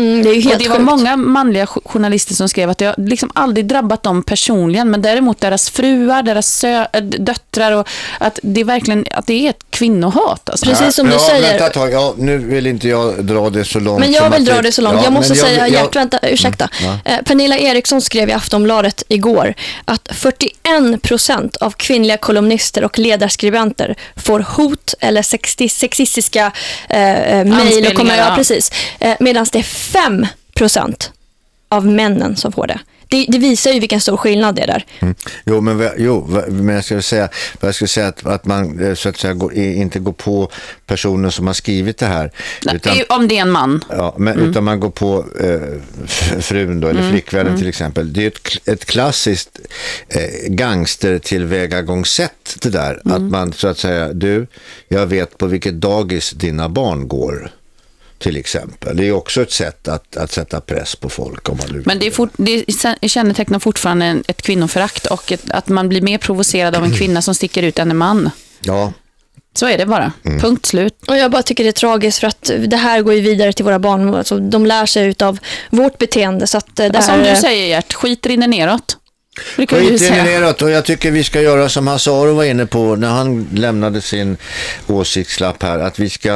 [SPEAKER 8] Mm, det är ju helt
[SPEAKER 6] och det var
[SPEAKER 8] sjukt.
[SPEAKER 6] många manliga jo- journalister som skrev att det har liksom aldrig drabbat dem personligen, men däremot deras fruar, deras sö- äh, döttrar och att det är verkligen att det är ett kvinnohat. Alltså.
[SPEAKER 8] Precis som
[SPEAKER 2] ja,
[SPEAKER 8] du säger.
[SPEAKER 2] Vänta ett tag. Ja, nu vill inte jag dra det så långt.
[SPEAKER 8] Men jag
[SPEAKER 2] som
[SPEAKER 8] vill
[SPEAKER 2] att
[SPEAKER 8] dra
[SPEAKER 2] vi-
[SPEAKER 8] det så långt.
[SPEAKER 2] Ja,
[SPEAKER 8] jag måste
[SPEAKER 2] men
[SPEAKER 8] säga,
[SPEAKER 2] jag- Mm.
[SPEAKER 8] Gert, vänta, ursäkta. Eh, Pernilla Eriksson skrev i Aftonbladet igår att 41 procent av kvinnliga kolumnister och ledarskribenter får hot eller sexi- sexistiska eh, eh, mejl. och kommer-
[SPEAKER 6] Anspelningar,
[SPEAKER 8] Ja,
[SPEAKER 6] ja.
[SPEAKER 8] precis. Eh, Medan det är 5 procent av männen som får det. det. Det visar ju vilken stor skillnad det är där.
[SPEAKER 2] Jo, men, va- jo, va- men jag skulle säga, jag skulle säga att, att man eh, så att säga, går- i- inte går på personen som har skrivit det här. utan-
[SPEAKER 6] Nej, Om det är en man. Mm.
[SPEAKER 2] Ja, men, Utan man går på eh, f- frun då, eller flickvännen
[SPEAKER 6] mm.
[SPEAKER 2] till exempel. Det är ju ett, kl- ett klassiskt eh, gangstertillvägagångssätt det där.
[SPEAKER 6] Mm.
[SPEAKER 2] Att man så att säga, du, jag vet på vilket dagis dina barn går. Till exempel. Det är ju också ett sätt att, att sätta press på folk. Om man nu
[SPEAKER 6] Men det, är fort, det är- kännetecknar fortfarande en- ett kvinnoförakt och ett, att man blir mer provocerad av en kvinna som sticker ut än en man.
[SPEAKER 2] Ja,
[SPEAKER 6] Så är det bara.
[SPEAKER 2] Mm.
[SPEAKER 6] Punkt slut.
[SPEAKER 8] Och jag bara tycker det är tragiskt för att det här går ju vidare till våra barn. Alltså, de lär sig av vårt beteende. Så att eh, det
[SPEAKER 6] Som
[SPEAKER 8] här,
[SPEAKER 6] du säger Gert, skit rinner neråt. Det kan du
[SPEAKER 2] Skit rinner
[SPEAKER 6] säga.
[SPEAKER 2] neråt och jag tycker vi ska göra som Hasaro var inne på när han lämnade sin åsiktslapp här. Att vi ska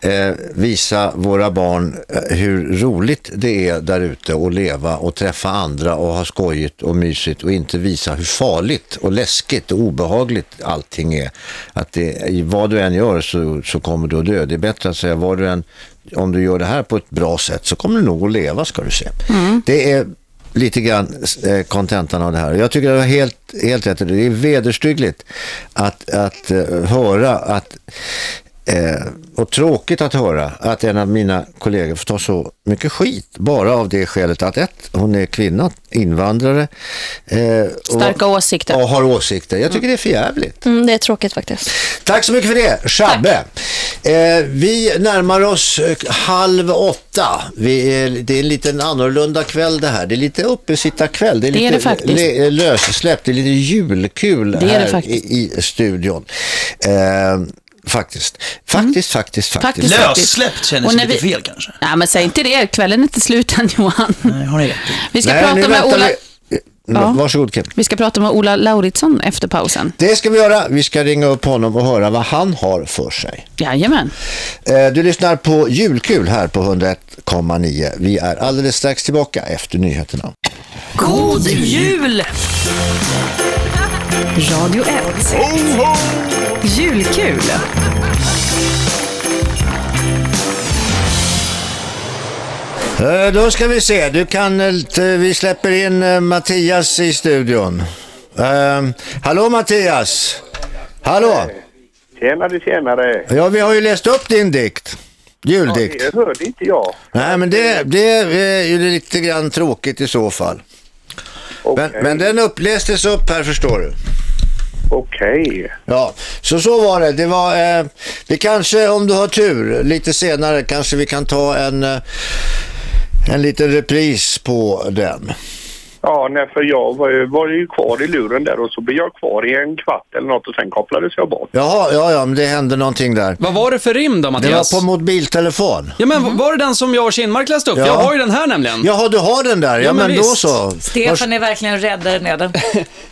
[SPEAKER 2] eh, visa våra barn eh, hur roligt det är där ute och leva och träffa andra och ha skojigt och mysigt och inte visa hur farligt och läskigt och obehagligt allting är. Att det, i vad du än gör så, så kommer du att dö. Det är bättre att säga vad du än, om du gör det här på ett bra sätt så kommer du nog att leva ska du se.
[SPEAKER 7] Mm.
[SPEAKER 2] Det är lite grann eh, kontentan av det här. Jag tycker det var helt, helt rätt. Det är vederstyggligt att, att eh, höra att eh, och tråkigt att höra att en av mina kollegor får ta så mycket skit bara av det skälet att ett, hon är kvinna, invandrare eh,
[SPEAKER 6] Starka åsikter.
[SPEAKER 2] och har åsikter. Jag tycker det är för jävligt.
[SPEAKER 8] mm, det är tråkigt faktiskt.
[SPEAKER 2] Tack så mycket för det, Shabbe. Eh, vi närmar oss eh, halv åtta. Vi är, det är en liten annorlunda kväll det här. Det är lite uppesittarkväll. Det är
[SPEAKER 6] Det är
[SPEAKER 2] lite
[SPEAKER 6] det faktiskt.
[SPEAKER 2] le- eh, lössläppt. Det är lite julkul
[SPEAKER 6] Det är det
[SPEAKER 2] här
[SPEAKER 6] faktiskt.
[SPEAKER 2] i, i studion. Eh, faktiskt. Faktiskt, faktiskt, faktiskt.
[SPEAKER 6] Mm. Faktiskt.
[SPEAKER 5] Lössläppt kändes
[SPEAKER 6] Och när
[SPEAKER 5] lite
[SPEAKER 6] vi-
[SPEAKER 5] fel kanske.
[SPEAKER 6] Nej, men säg inte det. Kvällen är inte slut än, Johan.
[SPEAKER 5] Nej, har ni rätt i.
[SPEAKER 6] Vi ska,
[SPEAKER 2] Nej, nu
[SPEAKER 6] prata, med
[SPEAKER 2] väntar
[SPEAKER 6] Ola,
[SPEAKER 2] vi. Eh,
[SPEAKER 6] Ja.
[SPEAKER 2] Varsågod Kim.
[SPEAKER 6] vi ska prata med Ola Lauritsson efter pausen.
[SPEAKER 2] Det ska vi göra. Vi ska ringa upp honom och höra vad han har för sig.
[SPEAKER 6] Jajamän.
[SPEAKER 2] Eh, Du lyssnar på Julkul här på 101,9. Vi är alldeles strax tillbaka efter nyheterna.
[SPEAKER 7] God jul! Radio 1. Julkul.
[SPEAKER 2] Eh, Då ska vi se. Du kan, eh, t- vi släpper in eh, Mattias i studion. Eh, hallå Mattias! Hallå!
[SPEAKER 10] Tjenare, tjenare.
[SPEAKER 2] Ja, vi har ju läst upp din dikt. Juldikt.
[SPEAKER 10] Det hörde inte jag.
[SPEAKER 2] Nej, men det, det är eh, ju lite grann tråkigt i så fall. Men,
[SPEAKER 10] Okej.
[SPEAKER 2] men den upplästes upp här förstår du.
[SPEAKER 10] Okej.
[SPEAKER 2] Ja, så så var det. Det var, eh, vi kanske, om du har tur, lite senare kanske vi kan ta en, eh, en liten repris på den.
[SPEAKER 10] Ja, nej, för jag var ju, var ju kvar i luren där och så blev jag kvar i en kvart eller något och sen kopplades jag bort.
[SPEAKER 2] Jaha, ja, ja, men det hände någonting där.
[SPEAKER 4] Vad var det för rim då,
[SPEAKER 2] Det
[SPEAKER 4] Mattias?
[SPEAKER 2] var på mobiltelefon.
[SPEAKER 4] Ja, men var det den som jag och Kinnmark läste upp?
[SPEAKER 2] Ja.
[SPEAKER 4] Jag har ju den här nämligen.
[SPEAKER 2] Jaha, du har den där. Ja,
[SPEAKER 4] Ja, men
[SPEAKER 2] men, då
[SPEAKER 4] visst.
[SPEAKER 2] så.
[SPEAKER 7] Stefan är verligen räddare nöden.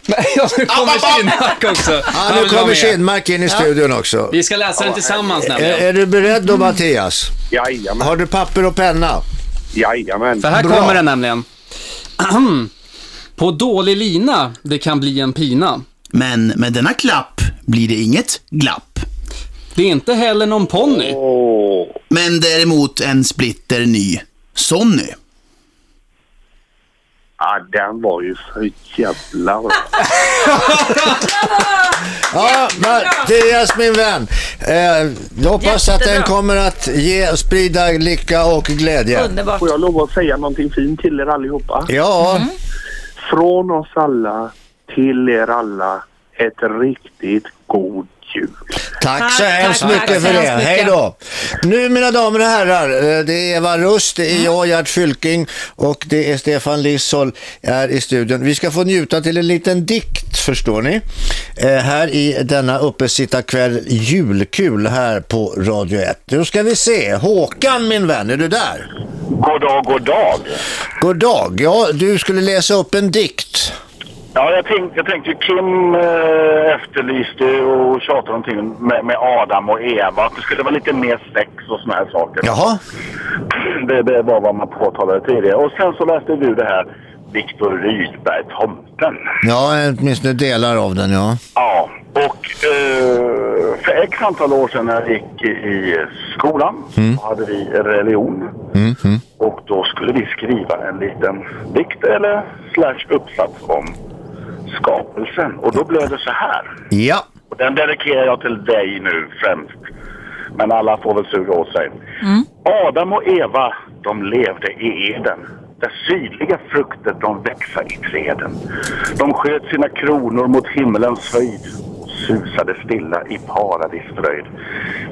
[SPEAKER 4] Men- ja, nu kommer Kinnmark också.
[SPEAKER 2] Ah, Ja,
[SPEAKER 4] Han
[SPEAKER 2] nu
[SPEAKER 4] vill vara
[SPEAKER 2] kommer
[SPEAKER 4] med.
[SPEAKER 2] Kindmark in i studion också.
[SPEAKER 4] Vi ska läsa den tillsammans
[SPEAKER 2] Är,
[SPEAKER 4] nämligen.
[SPEAKER 2] Eh, är du beredd då, Mattias?
[SPEAKER 10] eh, Jajamän.
[SPEAKER 2] Har du papper och penna?
[SPEAKER 10] Jajamän.
[SPEAKER 4] För här
[SPEAKER 2] Bra.
[SPEAKER 4] kommer den nämligen. På dålig lina, det kan bli en pina.
[SPEAKER 5] Men med denna klapp blir det inget glapp. Oh.
[SPEAKER 4] Det är inte heller någon ponny.
[SPEAKER 10] Åh,
[SPEAKER 5] Men däremot en splitter ny Sonny.
[SPEAKER 10] ja, den var ju så jävla bra.
[SPEAKER 2] Ja, Mattias min vän. Eh, jag hoppas att den
[SPEAKER 7] Jättebra.
[SPEAKER 2] kommer att ge, sprida lycka och glädje.
[SPEAKER 7] Underbart.
[SPEAKER 10] Får jag lov att säga någonting fint till
[SPEAKER 7] Mm.
[SPEAKER 10] er allihopa?
[SPEAKER 2] Ja,
[SPEAKER 10] Från oss alla till er alla ett riktigt god jul.
[SPEAKER 2] Tack så
[SPEAKER 7] Tack,
[SPEAKER 2] hemskt
[SPEAKER 7] tack,
[SPEAKER 2] mycket
[SPEAKER 7] tack så
[SPEAKER 2] för det.
[SPEAKER 7] hemskt mycket.
[SPEAKER 2] Hej då. Nu mina damer och herrar, eh, det är Eva Rust, det
[SPEAKER 7] Mm.
[SPEAKER 2] är jag, Gert Fylking och det är Stefan Lissol är i studion. Vi ska få njuta till en liten dikt, förstår ni. Eh, Här i denna uppesittarkväll, julkul här på Radio 1. Nu ska vi se, Håkan min vän, är du där?
[SPEAKER 10] God dag, god dag.
[SPEAKER 2] God dag. Ja, du skulle läsa upp en dikt.
[SPEAKER 10] Ja, jag tänkte, jag tänkte Kim eh, efterlyste och tjatade någonting med, med Adam och Eva. Att det skulle vara lite mer sex och såna här saker.
[SPEAKER 2] Jaha.
[SPEAKER 10] Det, det var vad man påtalade tidigare. Och sen så läste du det här Viktor Rydberg, Tomten.
[SPEAKER 2] Ja, åtminstone delar av den, ja.
[SPEAKER 10] Ja, och eh, för x antal år sedan när jag gick i skolan så hade vi religion. Och då skulle vi skriva en liten dikt eller slash uppsats om skapelsen. Och då blev det så här.
[SPEAKER 2] Ja.
[SPEAKER 10] Och den dedikerar jag till dig nu främst. Men alla får väl suga åt sig.
[SPEAKER 7] Mm.
[SPEAKER 10] Adam och Eva, de levde i Eden. Där sydliga frukter de växa i träden. De sköt sina kronor mot himlens höjd och susade stilla i paradisfröjd.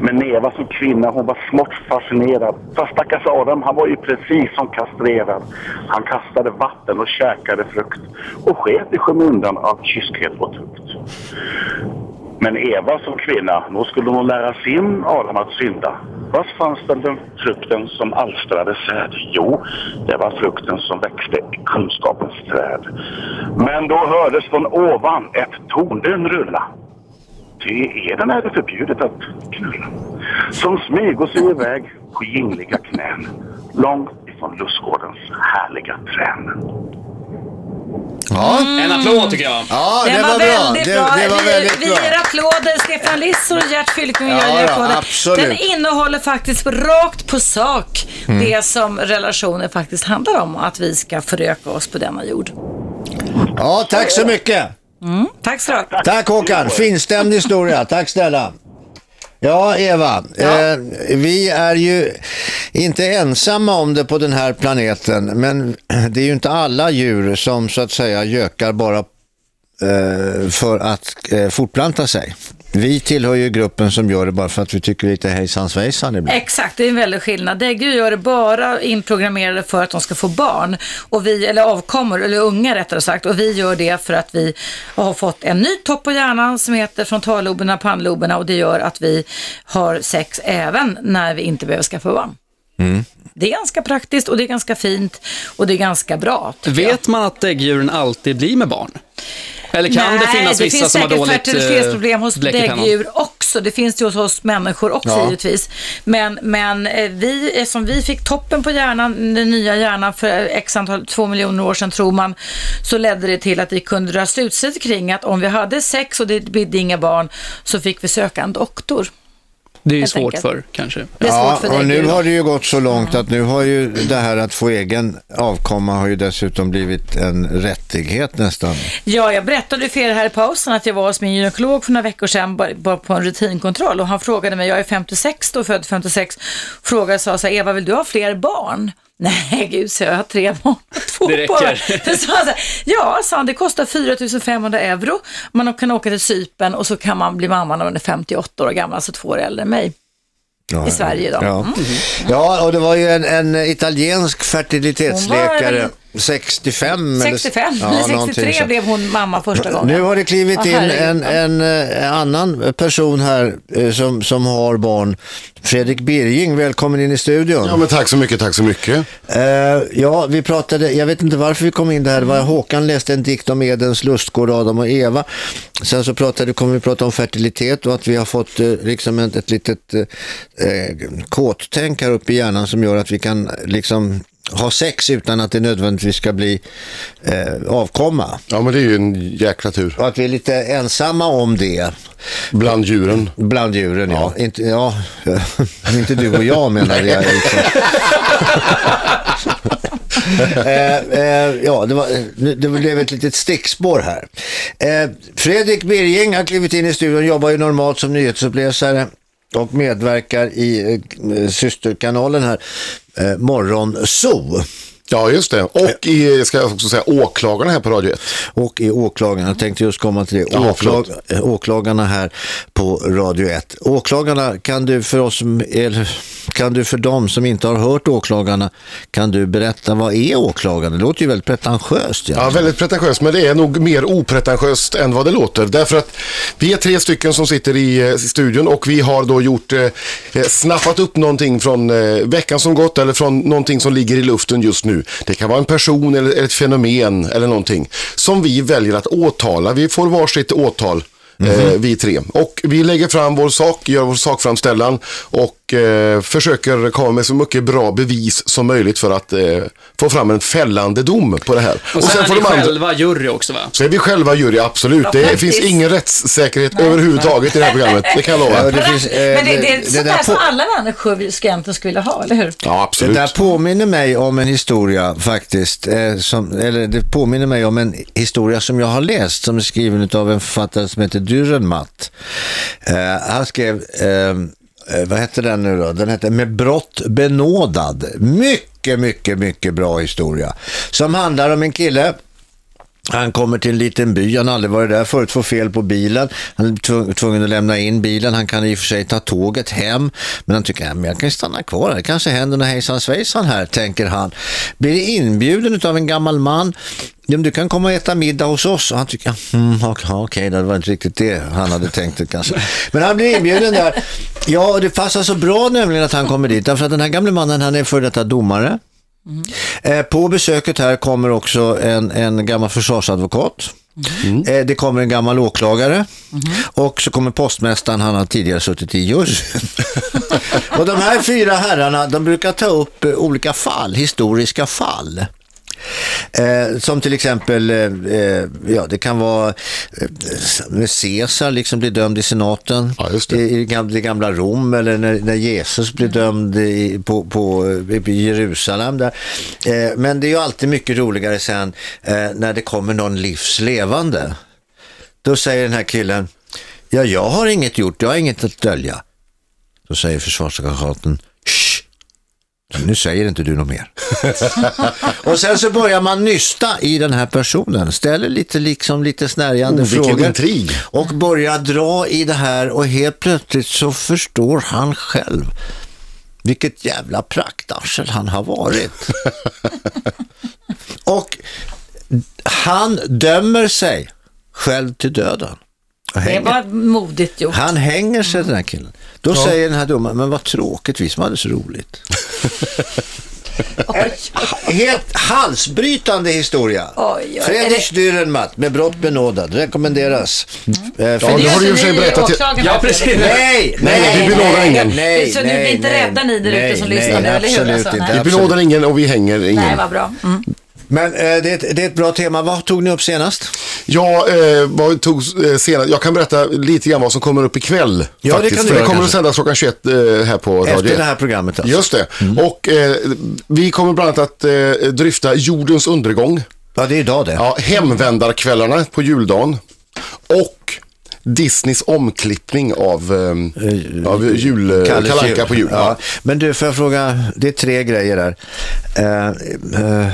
[SPEAKER 10] Men Eva som kvinna, hon var smått fascinerad. För stackars Adam, han var ju precis som kastrerad. Han kastade vatten och käkade frukt och sket i skymundan av kyskhet och tukt. Men Eva som kvinna, då skulle hon lära sin Adam att synda. Var fanns den, den frukten som alstrade säd? Jo, det var frukten som växte i kunskapens träd. Men då hördes från ovan ett tondyn rulla. Ty i Eden är det förbjudet att knulla. Som smyger sig iväg på gingliga knän. Långt ifrån lustgårdens härliga trän.
[SPEAKER 2] Ja,
[SPEAKER 4] En applåd tycker jag.
[SPEAKER 2] ja det,
[SPEAKER 7] Den
[SPEAKER 2] var, bra.
[SPEAKER 7] väldigt
[SPEAKER 2] Det,
[SPEAKER 7] bra.
[SPEAKER 2] det var
[SPEAKER 7] vi,
[SPEAKER 2] väldigt
[SPEAKER 7] vi
[SPEAKER 2] bra.
[SPEAKER 7] ger applåder. Stefan Liss och Gert Fylking
[SPEAKER 2] Ja,
[SPEAKER 7] gör
[SPEAKER 2] ja,
[SPEAKER 7] applåder.
[SPEAKER 2] absolut. Mm.
[SPEAKER 7] Den innehåller faktiskt rakt på sak det som relationer faktiskt handlar om. Att vi ska föröka oss på denna jord.
[SPEAKER 2] Ja, tack så mycket.
[SPEAKER 7] Tack så mycket.
[SPEAKER 2] Tack Håkan, finstämd historia. Tack snälla. Ja, Eva, Eh, vi är ju inte ensamma om det på den här planeten, men det är ju inte alla djur som så att säga gökar bara eh, för att eh, fortplanta sig. Vi tillhör ju gruppen som gör det bara för att vi tycker lite hejsan svejsan ibland.
[SPEAKER 7] Exakt, det är en väldig skillnad. Däggdjur gör det bara inprogrammerade för att de ska få barn, och vi, eller avkommor, eller unga rättare sagt. Och vi gör det för att vi har fått en ny topp på hjärnan som heter frontalloberna, pannloberna och det gör att vi har sex även när vi inte behöver skaffa barn.
[SPEAKER 2] Mm.
[SPEAKER 7] Det är ganska praktiskt och det är ganska fint och det är ganska bra. tycker jag.
[SPEAKER 4] Vet man att däggdjuren alltid blir med barn? Eller kan det finnas vissa
[SPEAKER 7] finns
[SPEAKER 4] som har
[SPEAKER 7] säkert
[SPEAKER 4] dåligt eh,
[SPEAKER 7] fertilitetsproblem hos
[SPEAKER 4] bläck i pennan?
[SPEAKER 7] däggdjur också. Det finns det ju hos oss människor också
[SPEAKER 2] Ja.
[SPEAKER 7] givetvis. Men, men eh, vi, eh, som vi fick toppen på hjärnan, den nya hjärnan för eh, x antal, två miljoner år sedan tror man, så ledde det till att vi kunde dra slutsatser kring att om vi hade sex och det bidde inga barn så fick vi söka en doktor.
[SPEAKER 4] Det är ju
[SPEAKER 7] helt
[SPEAKER 4] svårt
[SPEAKER 7] enkelt.
[SPEAKER 4] för kanske.
[SPEAKER 7] Det är svårt för
[SPEAKER 2] och nu
[SPEAKER 7] däggdjur.
[SPEAKER 2] har det ju gått så långt att nu har ju det här att få egen avkomma har ju dessutom blivit en rättighet nästan.
[SPEAKER 7] Ja, jag berättade för er här i pausen att jag var hos min gynekolog för några veckor sedan bara- bara på en rutinkontroll och han frågade mig, jag är 56 då, född 56, frågade och sa så här, Eva vill du ha fler barn? Nej, gud, så jag, jag har tre barn. Två
[SPEAKER 4] Det räcker.
[SPEAKER 7] Bara. Så sa han så här, ja, sa han, det kostar 4 500 euro. Man kan åka till Cypern och så kan man bli mamma när man är 58 år gammal, alltså två år äldre än mig.
[SPEAKER 2] Ja,
[SPEAKER 7] I Sverige då. Mm.
[SPEAKER 2] Ja. ja, och det var ju en, en italiensk
[SPEAKER 7] Hon var
[SPEAKER 2] fertilitetsläkare,
[SPEAKER 7] väl
[SPEAKER 2] 65 eller
[SPEAKER 7] 65,
[SPEAKER 2] ja, någonting
[SPEAKER 7] 63
[SPEAKER 2] sånt.
[SPEAKER 7] blev hon mamma första gången.
[SPEAKER 2] Nu har det klivit
[SPEAKER 7] Åh,
[SPEAKER 2] in
[SPEAKER 7] herregud.
[SPEAKER 2] en, en eh, annan person här eh, som, som har barn. Fredrik Birging, välkommen in i studion.
[SPEAKER 11] Ja, men tack så mycket, tack så mycket.
[SPEAKER 2] Eh, ja, vi pratade, jag vet inte varför vi kom in där. Det var Håkan läste en dikt om Edens lustgård, Adam och Eva. Sen så pratade, kom vi prata om fertilitet och att vi har fått eh, liksom ett, ett litet eh, eh, kåttänk här uppe i hjärnan som gör att vi kan eh, liksom ha sex utan att det nödvändigtvis ska bli eh, avkomma.
[SPEAKER 11] Ja, men det är ju en jäkla tur.
[SPEAKER 2] Och att vi är lite ensamma om det
[SPEAKER 11] Bland djuren.
[SPEAKER 2] bland djuren. Ja, inte, ja, inte du och jag menar jag. Liksom. eh, eh, ja, det, var, nu- det blev ett litet stickspår här. Eh, Fredrik Birging har klivit in i studion, jobbar ju normalt som nyhetsuppläsare och medverkar i eh, systerkanalen här, eh, Morgon Zoo.
[SPEAKER 11] Ja, just det. Och i, jag ska också säga, åklagarna här på Radio 1.
[SPEAKER 2] Och i åklagarna, jag tänkte just komma till det.
[SPEAKER 11] Ja,
[SPEAKER 2] Åklag, eh, åklagarna här på Radio 1. Åklagarna, kan du, för oss, som- eller, kan du för dem som inte har hört åklagarna, kan du berätta vad är åklagarna? Det låter ju väldigt pretentiöst. Ja.
[SPEAKER 11] Ja, väldigt pretentiöst, men det är nog mer opretentiöst än vad det låter. Därför att vi är tre stycken som sitter i eh, studion och vi har då gjort, eh, eh, snappat upp någonting från eh, veckan som gått eller från någonting som ligger i luften just nu. Det kan vara en person eller ett fenomen eller någonting som vi väljer att åtala. Vi får varsitt åtal. Eh, vi tre. Och vi lägger fram vår sak, gör vår sakframställan och eh, försöker komma med så mycket bra bevis som möjligt för att eh, få fram en fällande dom på det här.
[SPEAKER 4] Och sen,
[SPEAKER 11] får
[SPEAKER 4] är ni
[SPEAKER 11] de andra-
[SPEAKER 4] själva jury också va?
[SPEAKER 11] så är vi själva jury, absolut.
[SPEAKER 4] Bra
[SPEAKER 11] det
[SPEAKER 4] faktiskt.
[SPEAKER 11] finns ingen rättssäkerhet överhuvudtaget i det här programmet. Det kan jag lova.
[SPEAKER 2] Ja, det finns, eh,
[SPEAKER 7] Men det, det är
[SPEAKER 2] det
[SPEAKER 7] sånt
[SPEAKER 2] där
[SPEAKER 7] där som
[SPEAKER 2] på-
[SPEAKER 7] alla människor ska egentligen skulle vilja ha, eller hur?
[SPEAKER 11] Ja, absolut.
[SPEAKER 2] Det där påminner mig om en historia faktiskt. Eh, som, eller det påminner mig om en historia som jag har läst som är skriven av en författare som heter Dürrenmatt. Eh, han skrev, eh, eh, vad hette den nu då? Den hette Med brott benådad. Mycket, mycket, mycket bra historia. Som handlar om en kille han kommer till en liten by, han har aldrig varit där förut, får fel på bilen. Han är tvung- tvungen att lämna in bilen. Han kan i och för sig ta tåget hem, men han tycker att jag kan ju stanna kvar här. Det kanske händer något hejsan svejsan här, tänker han. Blir inbjuden av en gammal man. "Ja, men Du kan komma och äta middag hos oss. Och han tycker, mm, ok- ja, okej, det var inte riktigt det han hade tänkt det kanske. Men han blir inbjuden där. Ja, och det passar så bra nämligen att han kommer dit. Därför att den här gamle mannen, han är före detta domare. Eh, På besöket här kommer också en, en gammal försvarsadvokat. Eh, Det kommer en gammal åklagare och så kommer postmästaren, han har tidigare suttit i juryn. och de här fyra herrarna, de brukar ta upp eh, olika fall, historiska fall. Eh, som till exempel, eh, eh, ja det kan vara eh, när Caesar liksom blir dömd i senaten I, i gam- det gamla Rom eller när, när Jesus blir dömd i, på, på, eh, i Jerusalem. Där. Eh, men det är ju alltid mycket roligare sen eh, när det kommer någon livs levande. Då säger den här killen, ja jag har inget gjort, jag har inget att dölja. Då säger försvarsadvokaten, "Shh, nu säger inte du något mer. och sen så börjar man nysta i den här personen, ställer lite, liksom, lite snärjande
[SPEAKER 11] Oh, vilken
[SPEAKER 2] frågor.
[SPEAKER 11] intrig.
[SPEAKER 2] Och börjar dra i det här och helt plötsligt så förstår han själv vilket jävla praktarsel han har varit. och han dömer sig själv till döden.
[SPEAKER 7] Det
[SPEAKER 2] Och hänger.
[SPEAKER 7] var modigt gjort. Mm.
[SPEAKER 2] Han hänger sig den här killen. Då
[SPEAKER 7] Ja.
[SPEAKER 2] säger den här domaren, men vad tråkigt, vi som hade så roligt. En Helt halsbrytande historia.
[SPEAKER 7] oj.
[SPEAKER 2] Fredrik Dürrenmatt med brott benådad, rekommenderas. Mm.
[SPEAKER 11] Ja, nu har du ju i och för sig berättat till-
[SPEAKER 7] Ja, precis.
[SPEAKER 2] Nej, nej,
[SPEAKER 11] Nej, vi benådar ingen.
[SPEAKER 2] nej,
[SPEAKER 7] Så ni blir
[SPEAKER 2] nej,
[SPEAKER 7] inte
[SPEAKER 2] nej,
[SPEAKER 7] rädda ni där
[SPEAKER 2] nej,
[SPEAKER 7] ute som
[SPEAKER 2] nej,
[SPEAKER 7] lyssnar nu, eller hur?
[SPEAKER 2] absolut
[SPEAKER 7] Alltså,
[SPEAKER 2] inte,
[SPEAKER 7] nej.
[SPEAKER 11] Vi
[SPEAKER 2] absolut.
[SPEAKER 11] benådar ingen och vi hänger ingen.
[SPEAKER 7] Nej, vad bra. Mm.
[SPEAKER 2] Men eh, det, är ett- det är ett bra tema. Vad tog ni upp senast?
[SPEAKER 11] Ja, eh, vad tog eh, senast? Jag kan berätta lite grann vad som kommer upp ikväll.
[SPEAKER 2] Ja, det
[SPEAKER 11] faktiskt,
[SPEAKER 2] kan du
[SPEAKER 11] för
[SPEAKER 2] göra,
[SPEAKER 11] det kommer att
[SPEAKER 2] kanske.
[SPEAKER 11] sändas klockan 21 eh, här på
[SPEAKER 2] Efter
[SPEAKER 11] radio.
[SPEAKER 2] det här programmet alltså.
[SPEAKER 11] Just det. Och eh, vi kommer bland annat att eh, dryfta jordens undergång.
[SPEAKER 2] Ja, det är idag det.
[SPEAKER 11] Ja, hemvändarkvällarna på juldagen. Och Disneys omklippning av, eh, av jul, eh,
[SPEAKER 2] Kalles
[SPEAKER 11] Kalle Anka på jul.
[SPEAKER 2] Ja. Men du, får jag fråga, det är tre grejer där. Eh, eh,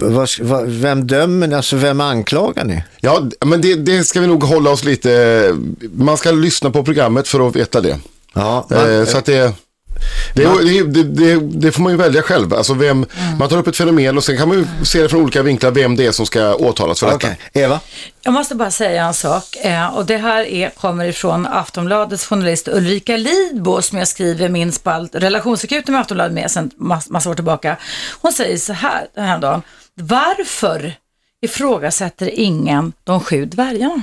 [SPEAKER 2] vad, ska- vad, vem dömer ni? Alltså vem anklagar ni?
[SPEAKER 11] Ja, d- men det, det ska vi nog hålla oss lite... Man ska lyssna på programmet för att veta det.
[SPEAKER 2] Ja,
[SPEAKER 11] eh, så att det, det,
[SPEAKER 2] man-
[SPEAKER 11] det, det, det, det får man ju välja själv. Alltså vem, Man tar upp ett fenomen och sen kan man ju se det från olika vinklar vem det är som ska åtalas för detta.
[SPEAKER 2] Okej, Eva?
[SPEAKER 7] Jag måste bara säga en sak eh, och det här är, kommer ifrån Aftonbladets journalist Ulrika Lidbo som jag skriver min spalt Relationsakuten med Aftonbladet med sedan mass, massa år tillbaka. Hon säger så här den här dagen. Varför ifrågasätter ingen de sju dvärgarna?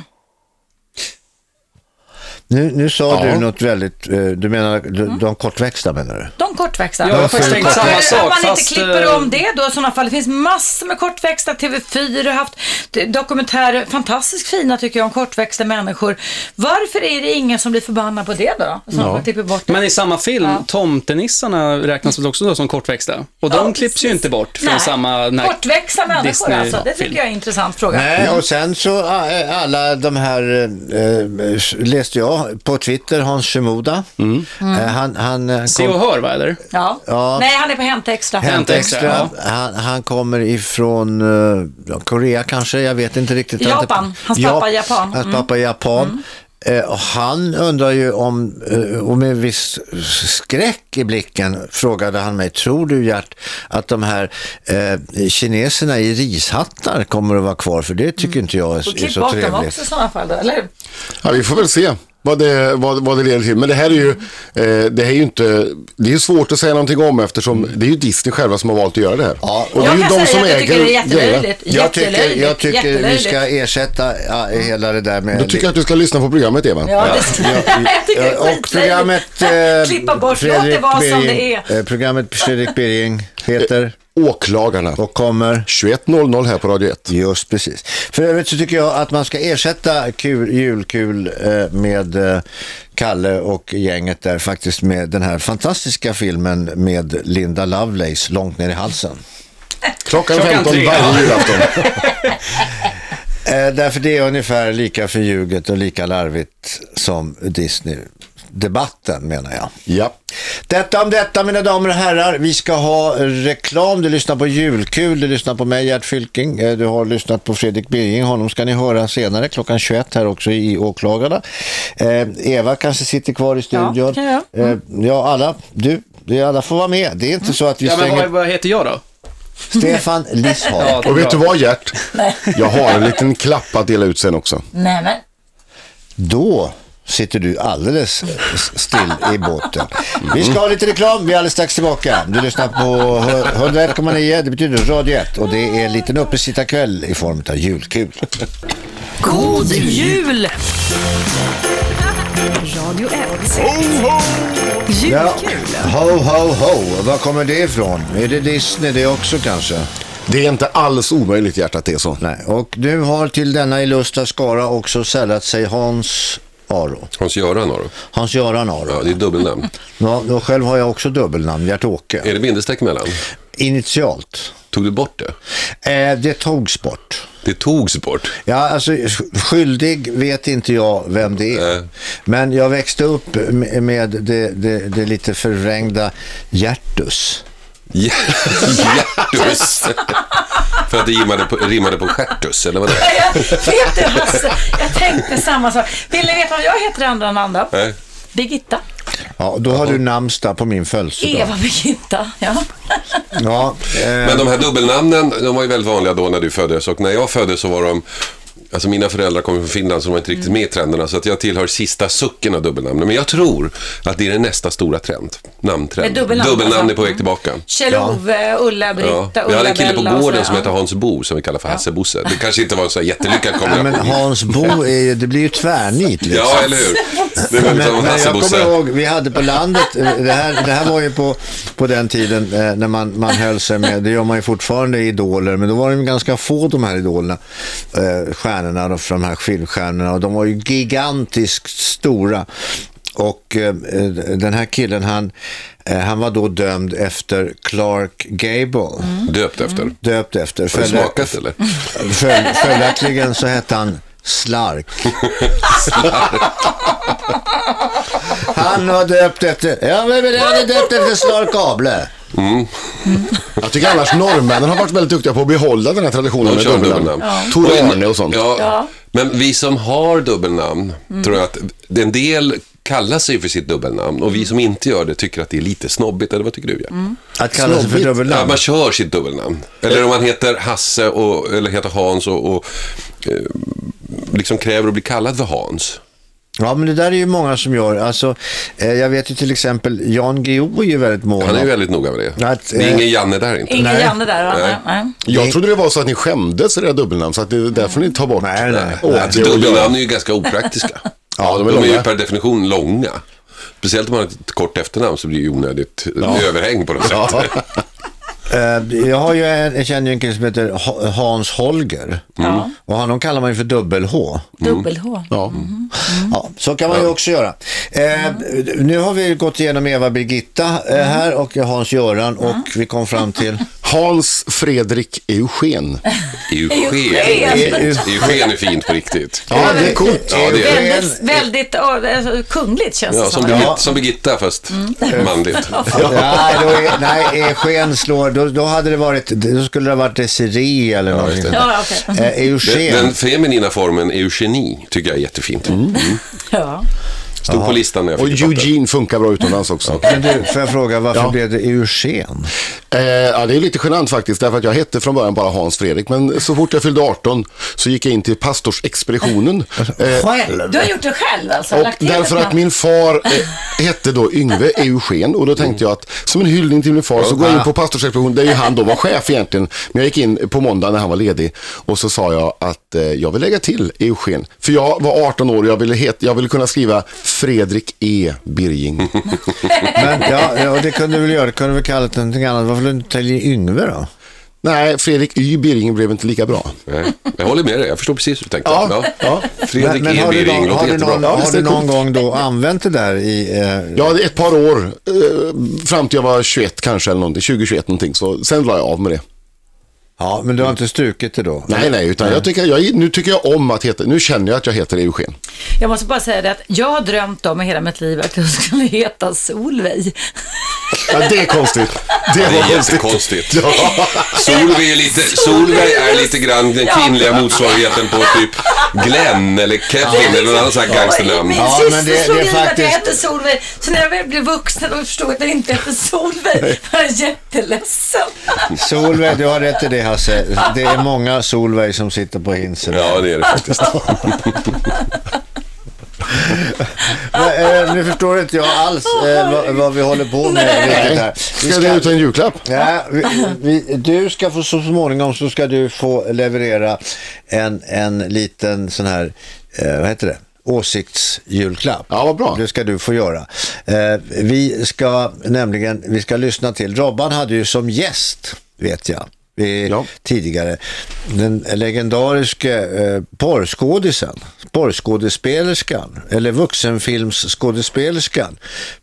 [SPEAKER 2] Nu, nu sa
[SPEAKER 11] Ja.
[SPEAKER 2] du något väldigt, eh, du menar de, de kortväxta menar du?
[SPEAKER 7] De kortväxta.
[SPEAKER 4] Ja, jag har faktiskt tänkt
[SPEAKER 7] Varför
[SPEAKER 4] samma
[SPEAKER 7] att
[SPEAKER 4] sak,
[SPEAKER 7] man
[SPEAKER 4] fast,
[SPEAKER 7] inte klipper
[SPEAKER 4] eh,
[SPEAKER 7] om det då i sådana fall. Det finns massor med kortväxta. TV4 har haft dokumentärer, fantastiskt fina tycker jag, om kortväxta människor. Varför är det ingen som blir förbannad på det då? Som ja. klipper bort det.
[SPEAKER 4] Men i samma film, tomtenissarna räknas väl också då som kortväxta? Och de klipps ju inte bort från
[SPEAKER 7] Nej.
[SPEAKER 4] samma... den här-
[SPEAKER 7] Kortväxta människor
[SPEAKER 4] Disney-
[SPEAKER 7] alltså. Det tycker
[SPEAKER 4] film. Mm.
[SPEAKER 7] Mm. jag är en intressant fråga.
[SPEAKER 2] ah, Nej, och sen så eh, alla de här, eh, eh, läste jag på Twitter, Hans Shimoda.
[SPEAKER 7] Mm.
[SPEAKER 2] Eh, han, han, eh,
[SPEAKER 7] Se
[SPEAKER 2] kom-
[SPEAKER 7] och hör,
[SPEAKER 4] va, eller?
[SPEAKER 7] Ja.
[SPEAKER 2] Ja.
[SPEAKER 7] Nej, han är på Hänt Extra.
[SPEAKER 2] Hänt Extra. Han, han kommer ifrån eh, ja, Korea kanske, jag vet inte riktigt.
[SPEAKER 7] Japan. Hans pappa är japan.
[SPEAKER 2] Hans
[SPEAKER 7] Mm.
[SPEAKER 2] pappa är japan. Eh, och han undrar ju om, eh, och med viss skräck i blicken frågade han mig, tror du Gert att de här eh, kineserna i rishattar kommer att vara kvar? För det tycker inte jag
[SPEAKER 7] Mm. Och
[SPEAKER 2] är, är
[SPEAKER 7] klipp
[SPEAKER 2] så
[SPEAKER 7] bort dem
[SPEAKER 2] trevligt.
[SPEAKER 7] också i sådana fall då, eller hur?
[SPEAKER 11] Ja, vi får väl se vad det, vad, vad det leder till. Men det här är ju, eh, det här är ju inte, det är ju svårt att säga någonting om eftersom det är ju Disney själva som har valt att göra det här. Ja, och det är
[SPEAKER 7] Jag
[SPEAKER 11] ju
[SPEAKER 7] kan säga att jag tycker det är jättelöjligt.
[SPEAKER 11] grejerna.
[SPEAKER 2] Jag tycker, jag tycker vi
[SPEAKER 7] Jättelöjligt.
[SPEAKER 2] ska ersätta ja, hela det där med...
[SPEAKER 11] Då tycker jag att du ska lyssna på programmet Eva.
[SPEAKER 7] Ja, det ska- jag tycker det är
[SPEAKER 2] Och programmet... eh,
[SPEAKER 7] Klippa bort, låt det
[SPEAKER 2] Fredrik
[SPEAKER 7] vara som
[SPEAKER 2] Birging,
[SPEAKER 7] det är.
[SPEAKER 2] eh, Programmet Fredrik Birging heter...
[SPEAKER 11] Åklagarna.
[SPEAKER 2] Och kommer...
[SPEAKER 11] 21.00 här på Radio 1.
[SPEAKER 2] Just precis. För övrigt så tycker jag att man ska ersätta kul, julkul eh, med eh, Kalle och gänget där faktiskt med den här fantastiska filmen med Linda Lovelace, Långt ner i halsen.
[SPEAKER 11] Klockan
[SPEAKER 2] Klockan
[SPEAKER 11] 15
[SPEAKER 2] tre, ja.
[SPEAKER 11] varje julafton.
[SPEAKER 2] Eh, därför det är ungefär lika förljuget och lika larvigt som Disney-debatten menar jag.
[SPEAKER 11] Ja.
[SPEAKER 2] Detta om detta mina damer och herrar. Vi ska ha reklam. Du lyssnar på Julkul, du lyssnar på mig Gert Fylking. Eh, Du har lyssnat på Fredrik Birging. Honom ska ni höra senare klockan 21 här också i Åklagarna. Eh, Eva kanske sitter kvar i studion.
[SPEAKER 4] det kan jag. Mm.
[SPEAKER 2] Eh, ja alla. Du, det är alla får vara med. Det är inte så att vi
[SPEAKER 4] Ja, men vad,
[SPEAKER 2] stänger...
[SPEAKER 4] vad heter jag då?
[SPEAKER 2] Stefan Lissholm.
[SPEAKER 4] Ja, det är
[SPEAKER 11] Och vet du
[SPEAKER 4] bra.
[SPEAKER 11] vad Gert? Jag har en liten klapp att dela ut sen också.
[SPEAKER 7] Nej, men.
[SPEAKER 2] Då sitter du alldeles still i båten. Vi ska ha lite reklam, vi är alldeles strax tillbaka. Du lyssnar på 101,9, det betyder Radio 1 och det är en liten uppesittarkväll i form av julkul.
[SPEAKER 12] God jul! Radio 1. Julkul.
[SPEAKER 2] Ho, ho, ho. Var kommer det ifrån? Är det Disney det också kanske?
[SPEAKER 11] Det är inte alls omöjligt Gert att det är så.
[SPEAKER 2] Nej, och nu har till denna illustra skara också sällat sig Hans Aro.
[SPEAKER 13] Hans-Göran har du.
[SPEAKER 2] Hans-Göran Aro.
[SPEAKER 13] Ja, det är dubbelnamn.
[SPEAKER 2] Ja, och själv har jag också dubbelnamn, Gert-Åke.
[SPEAKER 13] Är det bindestreck mellan?
[SPEAKER 2] Initialt.
[SPEAKER 13] Tog du bort det?
[SPEAKER 2] Eh, det togs bort.
[SPEAKER 13] Det togs bort?
[SPEAKER 2] Ja, alltså skyldig vet inte jag vem det är. Men jag växte upp m- med det, det, det lite förvrängda Gertus.
[SPEAKER 13] Hjärtus. För att det rimmade på, rimmade på stjärtus, eller vad det är?
[SPEAKER 7] Vet du, Hasse, jag tänkte samma sak. Vill ni veta vad jag heter i andra namn då?
[SPEAKER 13] Nej.
[SPEAKER 7] Birgitta.
[SPEAKER 2] Ja, då har du namnsdag på min födelsedag.
[SPEAKER 7] Eva Birgitta. Ja.
[SPEAKER 2] Ja,
[SPEAKER 7] Eh.
[SPEAKER 13] Men de här dubbelnamnen, de var ju väldigt vanliga då när du föddes och när jag föddes så var de Alltså mina föräldrar kommer från Finland så de var inte
[SPEAKER 7] Mm.
[SPEAKER 13] riktigt med i trenderna så att jag tillhör sista sucken av dubbelnamnen. Men jag tror att det är nästa stora trend. Namntrend.
[SPEAKER 7] Med dubbelnamn,
[SPEAKER 13] dubbelnamn är på väg
[SPEAKER 7] alltså.
[SPEAKER 13] tillbaka.
[SPEAKER 7] Kjell-Ove,
[SPEAKER 13] Ja.
[SPEAKER 7] Ulla-Britta,
[SPEAKER 13] Vi hade en kille på
[SPEAKER 7] Ulla-Bella och
[SPEAKER 13] gården
[SPEAKER 7] sådär.
[SPEAKER 13] som hette Hans Bo som vi kallar för Hasse-Bosse. Det kanske inte var en så här jättelyckad
[SPEAKER 2] Ja, men
[SPEAKER 13] kombination.
[SPEAKER 2] Hans Bo, är ju, det blir ju tvärnit. Liksom.
[SPEAKER 13] Ja, eller hur? Det var
[SPEAKER 2] Men,
[SPEAKER 13] liksom
[SPEAKER 2] men
[SPEAKER 13] Hasse
[SPEAKER 2] jag
[SPEAKER 13] Bosse.
[SPEAKER 2] kommer ihåg, vi hade på landet, eh, det här, det här var ju på, på den tiden eh, när man, man höll sig med, det gör man ju fortfarande i idoler, men då var de ganska få de här idolerna, eh, stjärnorna, då, för de här filmstjärnorna, och de var ju gigantiskt stora. Och eh, eh, den här killen, han, eh, han var då dömd efter Clark Gable.
[SPEAKER 13] Mm. Döpt efter.
[SPEAKER 2] Döpt efter.
[SPEAKER 13] Har du smakat eller?
[SPEAKER 2] Följ, följaktligen så hette han Slark. Han var döpt efter, ja men men han är döpt efter Slark Able.
[SPEAKER 11] Mm. Jag tycker annars norrmännen har varit väldigt duktiga på att behålla den här traditionen
[SPEAKER 13] De
[SPEAKER 11] med
[SPEAKER 13] kör
[SPEAKER 11] dubbelnamn.
[SPEAKER 13] dubbelnamn.
[SPEAKER 11] Tor Arne och sånt.
[SPEAKER 13] Ja.
[SPEAKER 7] Ja.
[SPEAKER 13] Men vi som har dubbelnamn
[SPEAKER 7] Mm.
[SPEAKER 13] tror jag att en del kallar sig för sitt dubbelnamn och vi som inte gör det tycker att det är lite snobbigt. Eller vad tycker du? Jack?
[SPEAKER 2] Att kalla sig för dubbelnamn?
[SPEAKER 13] Ja, man kör sitt dubbelnamn. Eller om man heter Hasse och, eller heter Hans och, och eh, liksom kräver att bli kallad för Hans.
[SPEAKER 2] Ja men det där är ju många som gör, alltså eh, jag vet ju till exempel Jan Guillou är ju väldigt mån
[SPEAKER 13] Han är ju
[SPEAKER 2] om-
[SPEAKER 13] väldigt noga med det.
[SPEAKER 2] Att,
[SPEAKER 13] det är
[SPEAKER 2] eh,
[SPEAKER 13] ingen Janne där inte.
[SPEAKER 7] Ingen Janne där, va? Nej. Nej.
[SPEAKER 11] Jag trodde det var så att ni skämdes i era dubbelnamn, så att det är därför ni tar bort. Nej, nej.
[SPEAKER 13] Alltså, dubbelnamn är ju ganska opraktiska.
[SPEAKER 11] Ja, de är
[SPEAKER 13] ju
[SPEAKER 11] långa.
[SPEAKER 13] per definition långa. Speciellt om man har ett kort efternamn så blir det ju onödigt
[SPEAKER 2] Ja.
[SPEAKER 13] överhäng på något
[SPEAKER 2] Ja.
[SPEAKER 13] sätt.
[SPEAKER 2] Eh, Jag, har ju en, jag känner ju en kille som heter Ha- Hans
[SPEAKER 11] Mm.
[SPEAKER 2] Holger. Och honom kallar man ju för dubbel-H.
[SPEAKER 7] Dubbel-H.
[SPEAKER 2] Ja.
[SPEAKER 11] Mm-hmm.
[SPEAKER 2] ja, så kan man ju också göra. Eh,
[SPEAKER 11] Mm.
[SPEAKER 2] Nu har vi gått igenom Eva Birgitta eh, här och Hans-Göran och vi kom fram till
[SPEAKER 11] Hans Fredrik Eugen.
[SPEAKER 13] Eugen.
[SPEAKER 11] Eugen.
[SPEAKER 13] Eugen är fint på riktigt.
[SPEAKER 11] Ja, det är coolt.
[SPEAKER 13] Ja, det är det.
[SPEAKER 7] Väldigt, väldigt åh, alltså, kungligt känns
[SPEAKER 13] Ja,
[SPEAKER 7] det
[SPEAKER 13] som,
[SPEAKER 7] som.
[SPEAKER 13] Birgitta, som Birgitta, fast manligt.
[SPEAKER 2] Nej, då är, nej, Eugen slår, då, då hade det varit, då skulle det ha varit Desiree eller någonting sånt. Eh, Eugen.
[SPEAKER 13] Den, den feminina formen eugeni tycker jag är jättefint. Mm.
[SPEAKER 7] Ja.
[SPEAKER 13] Stod på listan när jag
[SPEAKER 11] Och
[SPEAKER 13] fick det.
[SPEAKER 11] Eugene funkar bra utomlands också.
[SPEAKER 13] Men du,
[SPEAKER 2] får jag fråga, varför
[SPEAKER 11] blev
[SPEAKER 2] det Eugen?
[SPEAKER 11] Eh, ja, det är lite genant faktiskt, därför att jag hette från början bara Hans Fredrik. Men så fort jag fyllde 18 så gick jag in till pastorsexpeditionen. Eh,
[SPEAKER 2] Själv?
[SPEAKER 7] Du har gjort det själv alltså?
[SPEAKER 11] Och
[SPEAKER 7] lagt till
[SPEAKER 11] därför
[SPEAKER 7] ett
[SPEAKER 11] att min far eh, hette då Yngve Eugen och då tänkte jag att som en hyllning till min far så går jag in på pastorsexpeditionen, där ju han då var chef egentligen. Men jag gick in på måndag när han var ledig och så sa jag att eh, jag vill lägga till Eugen. För jag var 18 år och jag ville, het, jag ville kunna skriva Fredrik E Birging.
[SPEAKER 2] Men, ja, ja, det kunde du väl göra, det kunde du väl kalla det någonting annat. Varför lade du inte till Yngve då?
[SPEAKER 11] Nej, Fredrik Y Birging blev inte lika bra.
[SPEAKER 13] Nej, Jag håller med dig, jag förstår precis hur du tänkte.
[SPEAKER 11] Ja,
[SPEAKER 13] Fredrik
[SPEAKER 2] men, men
[SPEAKER 13] E.
[SPEAKER 2] har du
[SPEAKER 13] Birging
[SPEAKER 2] någon,
[SPEAKER 13] låter
[SPEAKER 2] har du
[SPEAKER 13] jättebra.
[SPEAKER 2] någon, har du någon gång då använt det där i... Eh,
[SPEAKER 11] Ja, ett par år. Eh, fram till jag var 21 kanske, eller någonting. 2021 någonting. Så sen la jag av med det.
[SPEAKER 2] Ja, men du har inte strukit det då?
[SPEAKER 11] Nej, nej, utan
[SPEAKER 2] Nej.
[SPEAKER 11] jag tycker, jag, nu tycker jag om att heta, nu känner jag att jag heter Eugen.
[SPEAKER 7] Jag måste bara säga det att jag har drömt om i hela mitt liv att jag skulle heta Solveig.
[SPEAKER 11] Ja, det är konstigt.
[SPEAKER 13] Det
[SPEAKER 11] Det var
[SPEAKER 13] är jättekonstigt.
[SPEAKER 11] konstigt. Ja.
[SPEAKER 13] Solveig är lite, Solveig är lite grann den kvinnliga motsvarigheten på typ Glenn eller Kevin eller någon annan sån här gangsternamn.
[SPEAKER 7] Min syster slog i mig att jag hette Solveig, så när jag väl blev vuxen och förstod att jag inte hette Solveig var jag jätteledsen.
[SPEAKER 2] Solveig, du har rätt i det Hasse. Det är många Solveig som sitter på hinsen.
[SPEAKER 13] Ja, det är det faktiskt.
[SPEAKER 2] Men, eh, nu förstår inte jag alls eh, vad, vad vi håller på med.
[SPEAKER 11] Nej.
[SPEAKER 2] riktigt här.
[SPEAKER 11] Ska jag dela ut en julklapp?
[SPEAKER 2] Ja, vi, vi, du ska få så småningom så ska du få leverera en, en liten sån här, eh, vad heter det? åsiktsjulklapp.
[SPEAKER 11] Ja, vad bra.
[SPEAKER 2] Det ska du få göra. Eh, vi ska nämligen, vi ska lyssna till, Robban hade ju som gäst, vet jag, eh, tidigare, den legendariske eh, porrskådisen, porrskådespelerskan, eller vuxenfilmsskådespelerskan,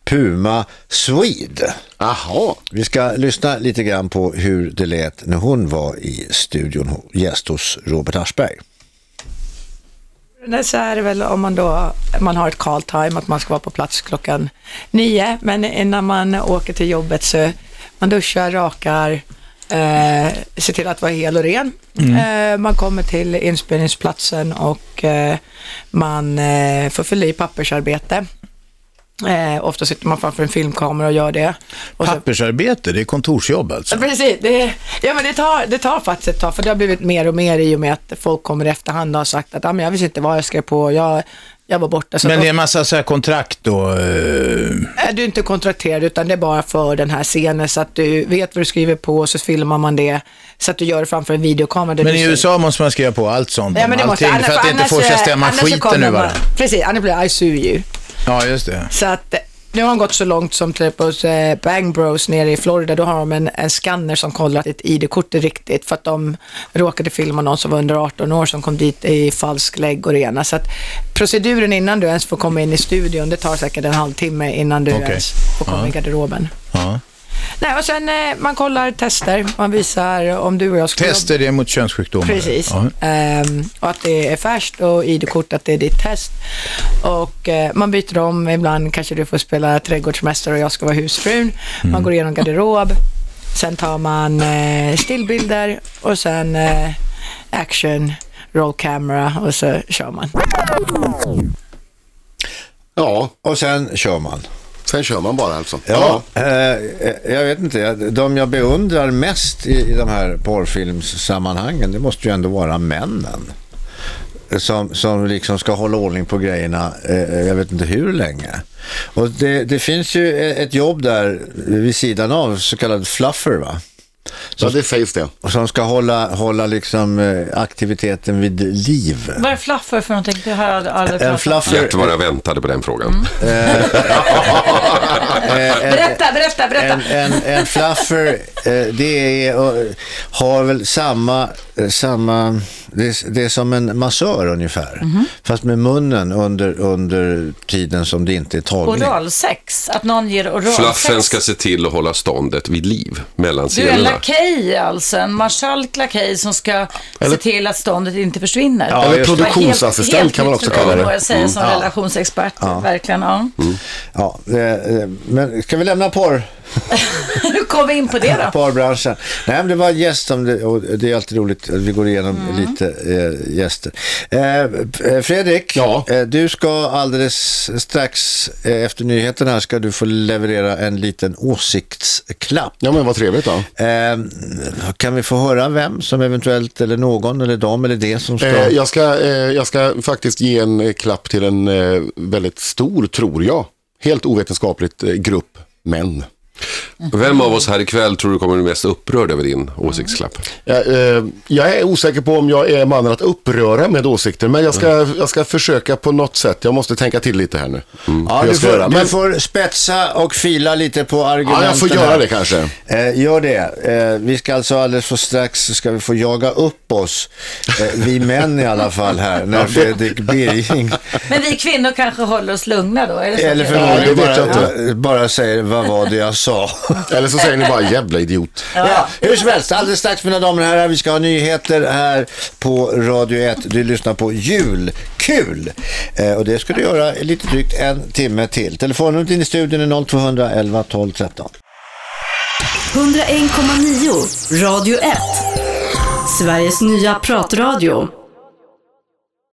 [SPEAKER 2] Puma Swede.
[SPEAKER 11] Aha.
[SPEAKER 2] Vi ska lyssna lite grann på hur det lät när hon var i studion, gäst hos Robert Aschberg.
[SPEAKER 9] Nej, så är det väl om man då man har ett call time, att man ska vara på plats klockan nio, men innan man åker till jobbet så man duschar, rakar, eh, ser till att vara hel och ren.
[SPEAKER 12] Mm.
[SPEAKER 9] Eh, man kommer till inspelningsplatsen och eh, man eh, får fylla i pappersarbete. Eh, ofta sitter man framför en filmkamera och gör det. Och så-
[SPEAKER 3] Pappersarbete, det är kontorsjobb alltså.
[SPEAKER 9] Precis, det, ja, men det, tar, det tar faktiskt ett tag, för det har blivit mer och mer i och med att folk kommer i efterhand och har sagt att ah, men jag visste inte vad jag skrev på, jag, jag var borta.
[SPEAKER 2] Alltså,
[SPEAKER 9] Så
[SPEAKER 3] Men
[SPEAKER 9] att-
[SPEAKER 3] det är en massa så här kontrakt då. eh,
[SPEAKER 9] är du inte kontrakterad utan det är bara för den här scenen så att du vet vad du skriver på och så filmar man det så att du gör det framför en videokamera. där
[SPEAKER 3] Men
[SPEAKER 9] du
[SPEAKER 3] i
[SPEAKER 9] ser-
[SPEAKER 3] USA måste man skriva på allt sånt.
[SPEAKER 9] Ja,
[SPEAKER 3] om
[SPEAKER 9] men det måste,
[SPEAKER 3] allting, för att det inte får ska stämma
[SPEAKER 9] annars så
[SPEAKER 3] skiten
[SPEAKER 9] kommer
[SPEAKER 3] nu
[SPEAKER 9] man-
[SPEAKER 3] varandra.
[SPEAKER 9] Precis, annars blir det I sue you.
[SPEAKER 3] Ja, just det.
[SPEAKER 9] Så att eh, nu har han gått så långt som till på eh, Bang Bros nere i Florida, då har de en, en skanner som kollar att ditt ID-kort är riktigt för att de råkade filma någon som var under 18 år som kom dit i falsk lägg och det ena. Så att proceduren innan du ens får komma in i studion, det tar säkert en halvtimme innan du
[SPEAKER 3] Okej.
[SPEAKER 9] ens får komma i
[SPEAKER 3] Ja.
[SPEAKER 9] garderoben.
[SPEAKER 3] Ja.
[SPEAKER 9] Nej, och sen eh, man kollar tester, man visar om du och jag skulle
[SPEAKER 3] Tester det mot könssjukdomar.
[SPEAKER 9] Precis.
[SPEAKER 3] Ja.
[SPEAKER 9] Ehm, och att det är färskt och ID-kort att det är ditt test. Och eh, man byter om, ibland kanske du får spela trädgårdsmästare och jag ska vara husfrun. Man
[SPEAKER 12] Mm.
[SPEAKER 9] går igenom garderob, sen tar man eh, stillbilder och sen eh, action, roll camera och så kör man.
[SPEAKER 11] Ja.
[SPEAKER 2] Och sen kör man.
[SPEAKER 11] Sen kör man bara alltså.
[SPEAKER 2] Ja, eh, jag vet inte. jag- De jag beundrar mest i, i de här porrfilmssammanhangen, det måste ju ändå vara männen. Som, som liksom ska hålla ordning på grejerna, eh, jag vet inte hur länge. Och det, det finns ju e- ett jobb där vid sidan av, så kallad fluffer va?
[SPEAKER 11] Som, ja, det sägs det.
[SPEAKER 2] Som ska hålla, hålla liksom eh, aktiviteten vid liv.
[SPEAKER 7] Vad är fluffer för någonting? Det har jag aldrig
[SPEAKER 2] En
[SPEAKER 7] pratat om.
[SPEAKER 2] fluffer... Eh,
[SPEAKER 13] Vet vad jag väntade på den
[SPEAKER 2] Mm.
[SPEAKER 13] frågan. Eh,
[SPEAKER 7] Berätta, berätta, berätta.
[SPEAKER 2] En, en, en fluffer, eh, det är, eh, har väl samma, eh, samma Det är, det är som en massör ungefär. Fast med munnen under, under tiden som det inte är tagning.
[SPEAKER 7] Oralsex, att någon ger oralsex.
[SPEAKER 13] Fluffen ska se till att hålla ståndet vid liv mellan
[SPEAKER 7] Du är en
[SPEAKER 13] scenerna.
[SPEAKER 7] lakej alltså, en marskalk lakej som ska
[SPEAKER 13] Eller-
[SPEAKER 7] se till att ståndet inte försvinner.
[SPEAKER 13] Ja, Eller just det. produktionsassistent
[SPEAKER 7] Helt- helt
[SPEAKER 13] kan man också
[SPEAKER 7] nytt
[SPEAKER 13] kalla
[SPEAKER 7] ord
[SPEAKER 13] det.
[SPEAKER 7] må Jag säger
[SPEAKER 2] Mm.
[SPEAKER 7] som
[SPEAKER 2] Ja.
[SPEAKER 7] relationsexpert,
[SPEAKER 2] Ja.
[SPEAKER 7] verkligen. Ja.
[SPEAKER 2] Ja, eh, eh, men ska vi lämna porr?
[SPEAKER 7] Hur kom vi in på det då?
[SPEAKER 2] Parbranschen. Nej, men det var en gäst som, det- och det är alltid roligt, att vi går igenom
[SPEAKER 7] Mm.
[SPEAKER 2] lite eh, gäster. Eh, eh, Fredrik, eh, du ska alldeles strax eh, efter nyheten här ska du få leverera en liten åsiktsklapp.
[SPEAKER 11] Ja, men vad trevligt då.
[SPEAKER 2] Eh, kan vi få höra vem som eventuellt, eller någon, eller dem, eller det som ska...
[SPEAKER 11] Eh, jag, ska, eh, jag ska faktiskt ge en eh, klapp till en eh, väldigt stor, tror jag, helt ovetenskapligt eh, grupp män.
[SPEAKER 13] Vem av oss här ikväll tror du kommer bli mest upprörd över din åsiktsklapp?
[SPEAKER 11] Jag, eh, jag är osäker på om jag är mannen att uppröra med åsikter, men jag ska,
[SPEAKER 2] Mm.
[SPEAKER 11] jag ska försöka på något sätt. Jag måste tänka till lite här nu.
[SPEAKER 2] Mm. Ja,
[SPEAKER 11] Hur
[SPEAKER 2] du
[SPEAKER 11] jag ska
[SPEAKER 2] får,
[SPEAKER 11] göra.
[SPEAKER 2] du
[SPEAKER 11] Men-
[SPEAKER 2] får spetsa och fila lite på argumenten.
[SPEAKER 11] Ja, jag får göra
[SPEAKER 2] här.
[SPEAKER 11] det kanske.
[SPEAKER 2] Eh, gör det. Eh, vi ska alltså alldeles för strax så ska vi få jaga upp oss, eh, vi män i alla fall här, när Fredrik Birging,
[SPEAKER 7] Men vi kvinnor kanske håller oss lugna då? Är det så?
[SPEAKER 2] eller
[SPEAKER 11] Ja, det
[SPEAKER 2] förmodligen
[SPEAKER 11] vet jag
[SPEAKER 2] bara, bara säger vad var det jag sa.
[SPEAKER 11] Eller så säger ni bara jävla idiot.
[SPEAKER 2] Ja, hur som helst, alldeles strax mina damer och herrar, vi ska ha nyheter här på Radio 1. Du lyssnar på Julkul eh, och det ska du göra i lite drygt en timme till. Telefonnumret in i studion är 0200 11 12 13.
[SPEAKER 12] 101,9 Radio 1. Sveriges nya pratradio.